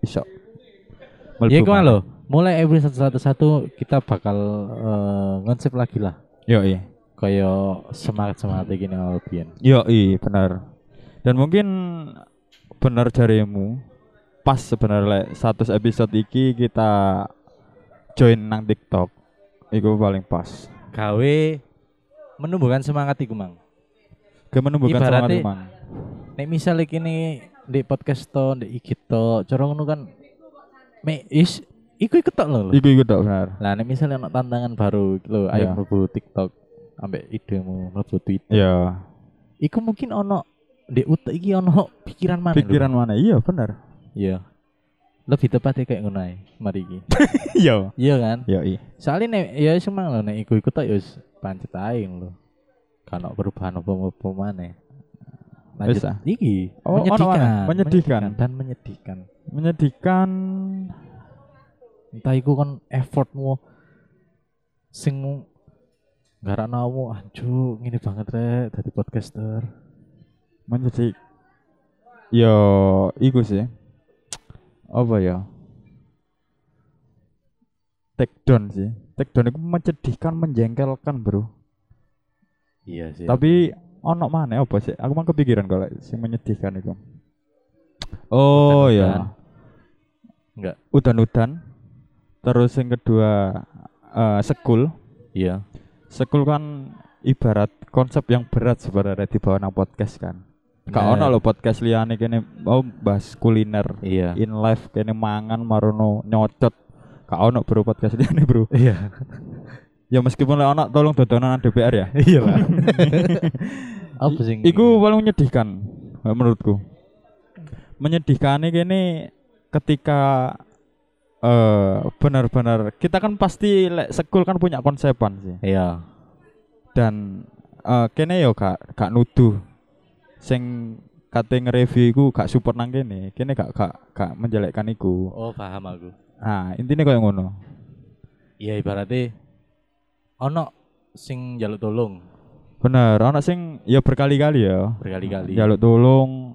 Speaker 1: iso
Speaker 2: Ya gua lo. Mulai episode satu-satu kita bakal eh, ngonsep lagi lah.
Speaker 1: yo iya
Speaker 2: Kayak semangat-semangat gini awal biyen.
Speaker 1: yo iya benar dan mungkin benar jarimu pas sebenarnya lek 100 episode iki kita join nang TikTok iku paling pas
Speaker 2: Gawe menumbuhkan semangat iku, Mang.
Speaker 1: gimana bukan sama
Speaker 2: Ibaratnya-
Speaker 1: Mang
Speaker 2: Nek misalnya kini di podcast to, di IG to, cara ngono kan me is iku ketok lho. lho.
Speaker 1: iku iku tak benar
Speaker 2: Lah nek misalnya ana tantangan baru lho,
Speaker 1: Iya.
Speaker 2: ayo mlebu TikTok ambek idemu mlebu Twitter.
Speaker 1: ya
Speaker 2: Iku mungkin ono di utek iki ono pikiran mana lho.
Speaker 1: pikiran mana iya benar
Speaker 2: Iya. Lebih tepatnya kayak ngono ae mari iki.
Speaker 1: yo
Speaker 2: iya kan?
Speaker 1: yo iya
Speaker 2: Soalnya nek ya wis emang lho nek iku iku tok ya wis pancet ae lho. Kan ono perubahan apa-apa maneh.
Speaker 1: Wis
Speaker 2: Lanjut
Speaker 1: ah.
Speaker 2: iki
Speaker 1: Oh, ono maneh.
Speaker 2: menyedihkan,
Speaker 1: Menyedihkan.
Speaker 2: dan menyedihkan.
Speaker 1: menyedihkan
Speaker 2: entah iku kan effortmu sing gara namu anju ngene banget rek dadi podcaster
Speaker 1: menyedik yo ya, iku sih apa ya take down sih take down itu mencedihkan menjengkelkan bro
Speaker 2: iya sih
Speaker 1: tapi ono mana apa sih aku mah kepikiran kalau sing menyedihkan itu oh ya
Speaker 2: iya. Enggak.
Speaker 1: udan-udan terus yang kedua eh, sekul
Speaker 2: iya
Speaker 1: sekul kan ibarat konsep yang berat sebenarnya di bawah nang podcast kan Gak
Speaker 2: Bener.
Speaker 1: ono lho podcast liyane kene oh bahas kuliner
Speaker 2: iya
Speaker 1: in life kene mangan marono nyocot. Gak ono bro podcast liyane bro.
Speaker 2: iya
Speaker 1: Ya meskipun lek ono tolong dodonan DPR ya.
Speaker 2: iya lah apa sing
Speaker 1: Iku paling menyedihkan eh, menurutku. Menyedihkannya kene ketika eh benar-benar kita kan pasti lek sekul kan punya konsepan sih.
Speaker 2: iya
Speaker 1: dan eh kene yo gak gak nuduh sing kate nge-review iku gak support nang kene kene gak gak gak menjelekkan iku
Speaker 2: oh paham aku
Speaker 1: nah intinya koyo ngono
Speaker 2: iya ibaratnya ono sing jaluk tolong
Speaker 1: bener ana sing ya berkali-kali ya
Speaker 2: berkali-kali
Speaker 1: jaluk tolong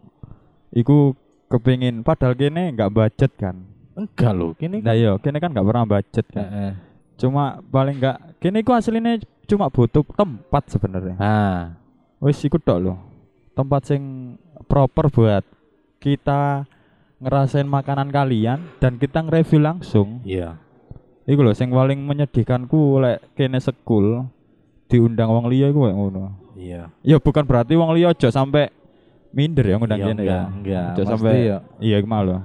Speaker 1: iku kepingin padahal kene gak budget kan
Speaker 2: enggak lho kini
Speaker 1: nah yo kene kan gak pernah budget kan
Speaker 2: Heeh.
Speaker 1: cuma paling gak kene iku aslinya cuma butuh tempat sebenarnya
Speaker 2: ah
Speaker 1: Wis iku tok lho. Tempat sing proper buat kita ngerasain makanan kalian dan kita nge-review langsung.
Speaker 2: iya
Speaker 1: Iku lho sing paling menyedihkanku lek kene sekul diundang wong liya iku kayak ngono.
Speaker 2: iya
Speaker 1: Ya bukan berarti wong liya aja sampe minder ya ngundang
Speaker 2: Iya,
Speaker 1: kene ya.
Speaker 2: enggak enggak
Speaker 1: Aja
Speaker 2: Mesti
Speaker 1: sampai-
Speaker 2: ya
Speaker 1: Iya iku mau lho.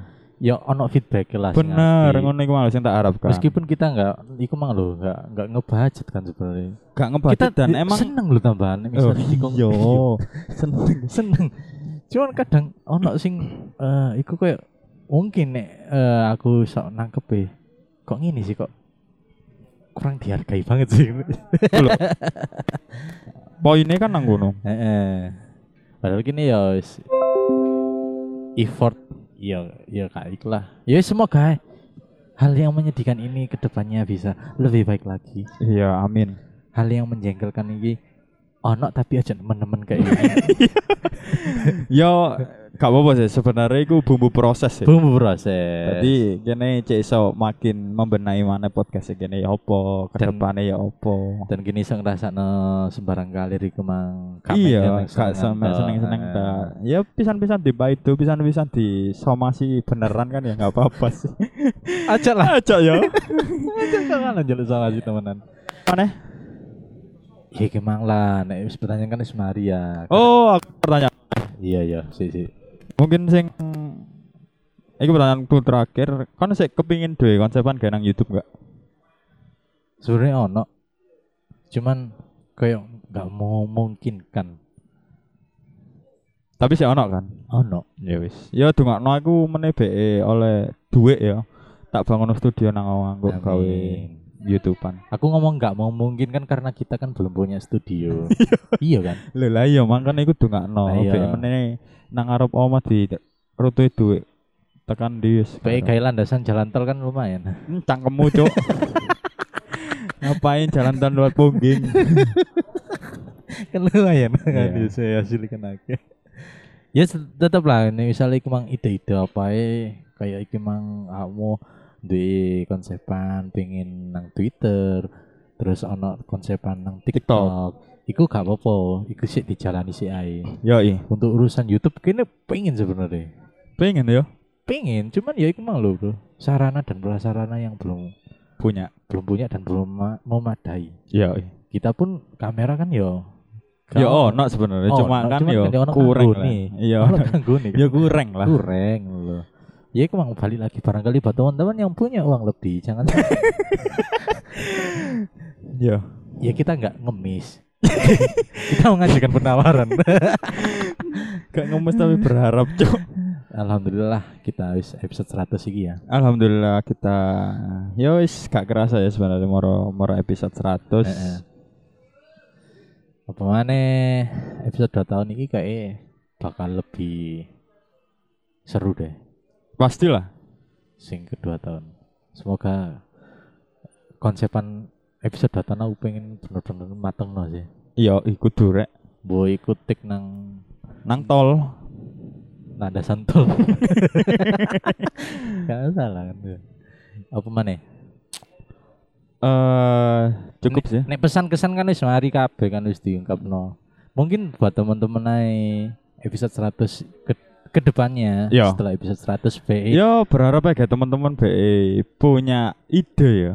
Speaker 2: ya ono feedback lah sing
Speaker 1: Bener,
Speaker 2: apik.
Speaker 1: ngono iku malah sing tak harapkan.
Speaker 2: Meskipun kita nggak, iku mang lo nggak nggak ngebajet kan sebenarnya.
Speaker 1: gak
Speaker 2: Kita
Speaker 1: ngebudget dan
Speaker 2: di-
Speaker 1: emang
Speaker 2: seneng lo tambahan.
Speaker 1: Oh,
Speaker 2: Misalnya iku-
Speaker 1: iya.
Speaker 2: seneng seneng. Cuman kadang ono sing eh iku kayak mungkin nek eh, aku sok nangkep ya. Kok ngini sih kok kurang dihargai banget sih.
Speaker 1: Poinnya kan nang ngono.
Speaker 2: Heeh. Padahal gini ya wis effort ya ya kayak itulah. Ya wis, semoga hal yang menyedihkan ini kedepannya bisa lebih baik lagi.
Speaker 1: Iya, amin.
Speaker 2: Hal yang menjengkelkan ini ono tapi aja teman-teman kayak gitu. gini.
Speaker 1: Yo, Ya, gak apa-apa sih sebenarnya iku bumbu proses sih.
Speaker 2: Bumbu proses.
Speaker 1: Jadi kene cek iso makin membenahi mana podcast kene ya opo,
Speaker 2: Dan-
Speaker 1: kedepane ya opo.
Speaker 2: dan gini saya ngerasa sembarang kali di kemang
Speaker 1: Iya, gak
Speaker 2: eh,
Speaker 1: sampe seneng-seneng tak. Ya pisan-pisan di itu, pisan-pisan di somasi beneran kan ya gak apa-apa sih.
Speaker 2: Aja lah.
Speaker 1: Aja yo.
Speaker 2: Jangan lanjut sama sih temenan.
Speaker 1: Mana?
Speaker 2: Ya kemang lah. Nek wis pertanyaan kan wis mari ya.
Speaker 1: Oh, aku bertanya.
Speaker 2: Iya iya, sih sih.
Speaker 1: Mungkin sing Iku pertanyaanku terakhir, kon sik kepingin duwe konsepan gak nang YouTube gak?
Speaker 2: sebenarnya ono cuman kayak nggak mau memungkinkan
Speaker 1: Tapi sik ono kan.
Speaker 2: ono
Speaker 1: Ya wis. Ya dungakno aku meneh BE oleh dhuwit ya. Tak bangun studio nang nganggo gawe
Speaker 2: Amin.
Speaker 1: YouTubean.
Speaker 2: aku ngomong nggak mau memungkinkan karena kita kan belum punya studio iya kan
Speaker 1: Lho lah iya mangkane iku dungakno
Speaker 2: Lah iya.
Speaker 1: BE meneh nang ngarep omah di rutui dhuwit tekan di wis.
Speaker 2: kayak kayak landasan jalan tol kan lumayan
Speaker 1: Hmm, cangkemmu cuk. Ngapain jalan tan luar pungging?
Speaker 2: kan lumayan
Speaker 1: Iya.
Speaker 2: Iya, saya hasil kenake ya tetap lah ini misalnya iki mang ide-ide apa ya kayak iki mang kamu di konsepan pengen nang Twitter terus ono konsepan nang TikTok,
Speaker 1: TikTok.
Speaker 2: iku gak apa-apa iku sih dijalani sih ae
Speaker 1: Yoi.
Speaker 2: untuk urusan YouTube kayaknya pengen sebenarnya
Speaker 1: Pengen yo
Speaker 2: pengen cuman ya itu mang lho bro sarana dan prasarana yang belum
Speaker 1: punya.
Speaker 2: belum punya dan belum ma- memadai
Speaker 1: Yoi.
Speaker 2: kita pun kamera kan yo
Speaker 1: Ya ono sebenarnya
Speaker 2: Oh,
Speaker 1: cuma
Speaker 2: ono,
Speaker 1: kan
Speaker 2: cuman
Speaker 1: yo
Speaker 2: kan ya ono
Speaker 1: kurang
Speaker 2: kanggo
Speaker 1: lah.
Speaker 2: nih.
Speaker 1: Iya.
Speaker 2: kalau kanggo nih
Speaker 1: Ya kurang lah.
Speaker 2: kurang lho ya itu mang balik lagi barangkali buat teman-teman yang punya uang lebih jangan
Speaker 1: Yo.
Speaker 2: ya kita nggak ngemis kita mengajukan penawaran
Speaker 1: Gak ngemes tapi berharap, Cuk.
Speaker 2: alhamdulillah kita wis episode 100 iki ya
Speaker 1: Alhamdulillah kita ya wis gak kerasa ya sebenarnya moro moro episode 100.
Speaker 2: Heeh. apa maneh episode 2 tahun ini kayak bakal lebih seru deh
Speaker 1: Pastilah.
Speaker 2: sing kedua tahun semoga konsepan episode 2 tahun aku pengen bener-bener mateng no sih
Speaker 1: Yo ikut durek
Speaker 2: boy ikut tik nang
Speaker 1: nang tol.
Speaker 2: nada santul gak salah kan apa maneh
Speaker 1: Eh cukup
Speaker 2: Nek-
Speaker 1: sih.
Speaker 2: Nek pesan kesan kan wis mari kabeh kan wis diungkapno. Mungkin buat teman-teman ae episode 100 ke, ke depannya
Speaker 1: Yo.
Speaker 2: setelah episode 100 BE
Speaker 1: Yo berharap ya teman-teman BE punya ide ya.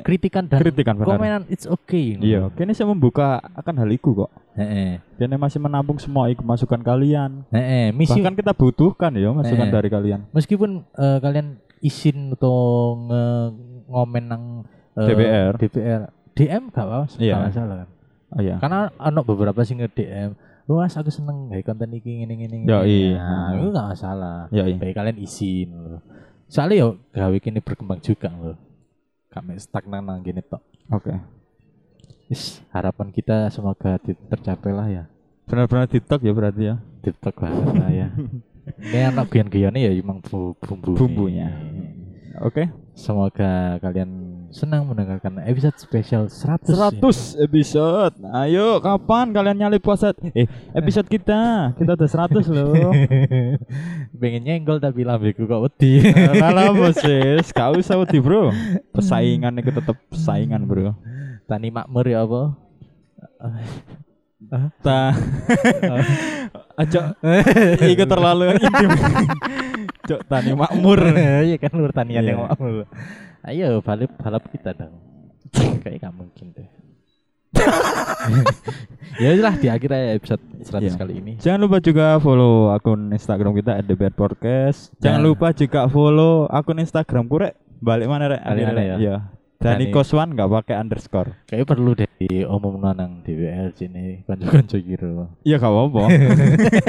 Speaker 1: Kene
Speaker 2: kritikan dan
Speaker 1: kritikan benar.
Speaker 2: komenan it's okay.
Speaker 1: Iya, kene saya membuka akan hal iku kok.
Speaker 2: Heeh.
Speaker 1: Kene masih menampung semua iku masukan kalian.
Speaker 2: Heeh, misi
Speaker 1: Bahkan kita butuhkan ya masukan
Speaker 2: Eh.
Speaker 1: dari kalian.
Speaker 2: meskipun eh, kalian izin atau nge- ngomen nang eh,
Speaker 1: DPR.
Speaker 2: DPR. DM gak apa
Speaker 1: Iya.
Speaker 2: salah kan.
Speaker 1: Oh iya.
Speaker 2: Karena ono beberapa sing nge-DM, "Luas aku seneng gawe konten iki ngene ngene."
Speaker 1: Yo,
Speaker 2: ngene."
Speaker 1: iya.
Speaker 2: Nah, itu gak masalah.
Speaker 1: Ya iya.
Speaker 2: baik kalian izin lho. soalnya yo gawe kini berkembang juga loh kami stagnan nang gini tok
Speaker 1: Oke.
Speaker 2: Is, harapan kita semoga di- tercapai lah ya
Speaker 1: Benar-benar TikTok ya berarti ya.
Speaker 2: tiktok banget lah ya ini anak guyon guyonnya ya emang bu- bumbu
Speaker 1: Bumbunya. Oke.
Speaker 2: semoga kalian senang mendengarkan episode spesial 100 ya.
Speaker 1: 100 episode. Ayo, kapan kalian nyali puasa? Eh, episode kita. Kita udah 100 loh.
Speaker 2: pengen nyenggol tapi lambeku kok wedi
Speaker 1: Lala bosses, gak usah wedi, Bro. Persaingan itu tetap persaingan, Bro.
Speaker 2: tani makmur ya apa
Speaker 1: Ta. Aja itu terlalu intim. Cok tani makmur.
Speaker 2: iya kan lur tanian yang
Speaker 1: Iya.
Speaker 2: makmur ayo balik balap kita dong kayak gak mungkin deh ya lah di akhir aja episode 100
Speaker 1: Iya.
Speaker 2: kali ini.
Speaker 1: Jangan lupa juga follow akun Instagram kita @dbrpodcast. Jangan
Speaker 2: Nah.
Speaker 1: lupa juga follow akun Instagram kurek balik mana rek?
Speaker 2: Balik mana ya?
Speaker 1: Iya. Dani
Speaker 2: Dani.
Speaker 1: Koswan nggak pakai underscore.
Speaker 2: Kayaknya perlu deh diomongin nang DWR sini gitu. kanca-kanca kira.
Speaker 1: Iya gak apa-apa.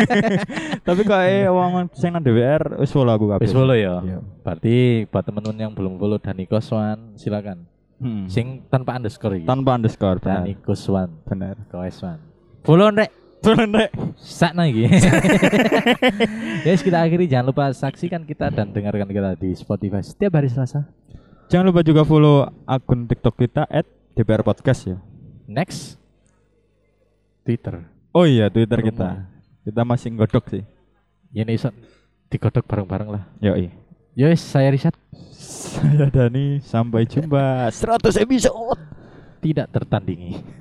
Speaker 1: Tapi kok eh wong sing nang DWR wis follow aku kabeh.
Speaker 2: Wis follow ya.
Speaker 1: Iya.
Speaker 2: Berarti buat temen-temen yang belum follow Dani Koswan silakan.
Speaker 1: Hmm.
Speaker 2: Sing tanpa underscore iki.
Speaker 1: Tanpa underscore.
Speaker 2: Dani
Speaker 1: Bener.
Speaker 2: Koswan,
Speaker 1: Bener.
Speaker 2: Koswan. Follow rek.
Speaker 1: Turun rek.
Speaker 2: Sakna iki. Guys, kita akhiri jangan lupa saksikan kita dan dengarkan kita di Spotify setiap hari Selasa.
Speaker 1: Jangan lupa juga follow akun TikTok kita @dbrpodcast ya.
Speaker 2: Next Twitter.
Speaker 1: Oh iya Twitter
Speaker 2: Rumah.
Speaker 1: kita. Kita masih godok sih.
Speaker 2: Ini iso digodok bareng-bareng lah.
Speaker 1: Yoi.
Speaker 2: Yo, saya Rizat
Speaker 1: Saya Dani, sampai jumpa. 100 episode.
Speaker 2: tidak tertandingi.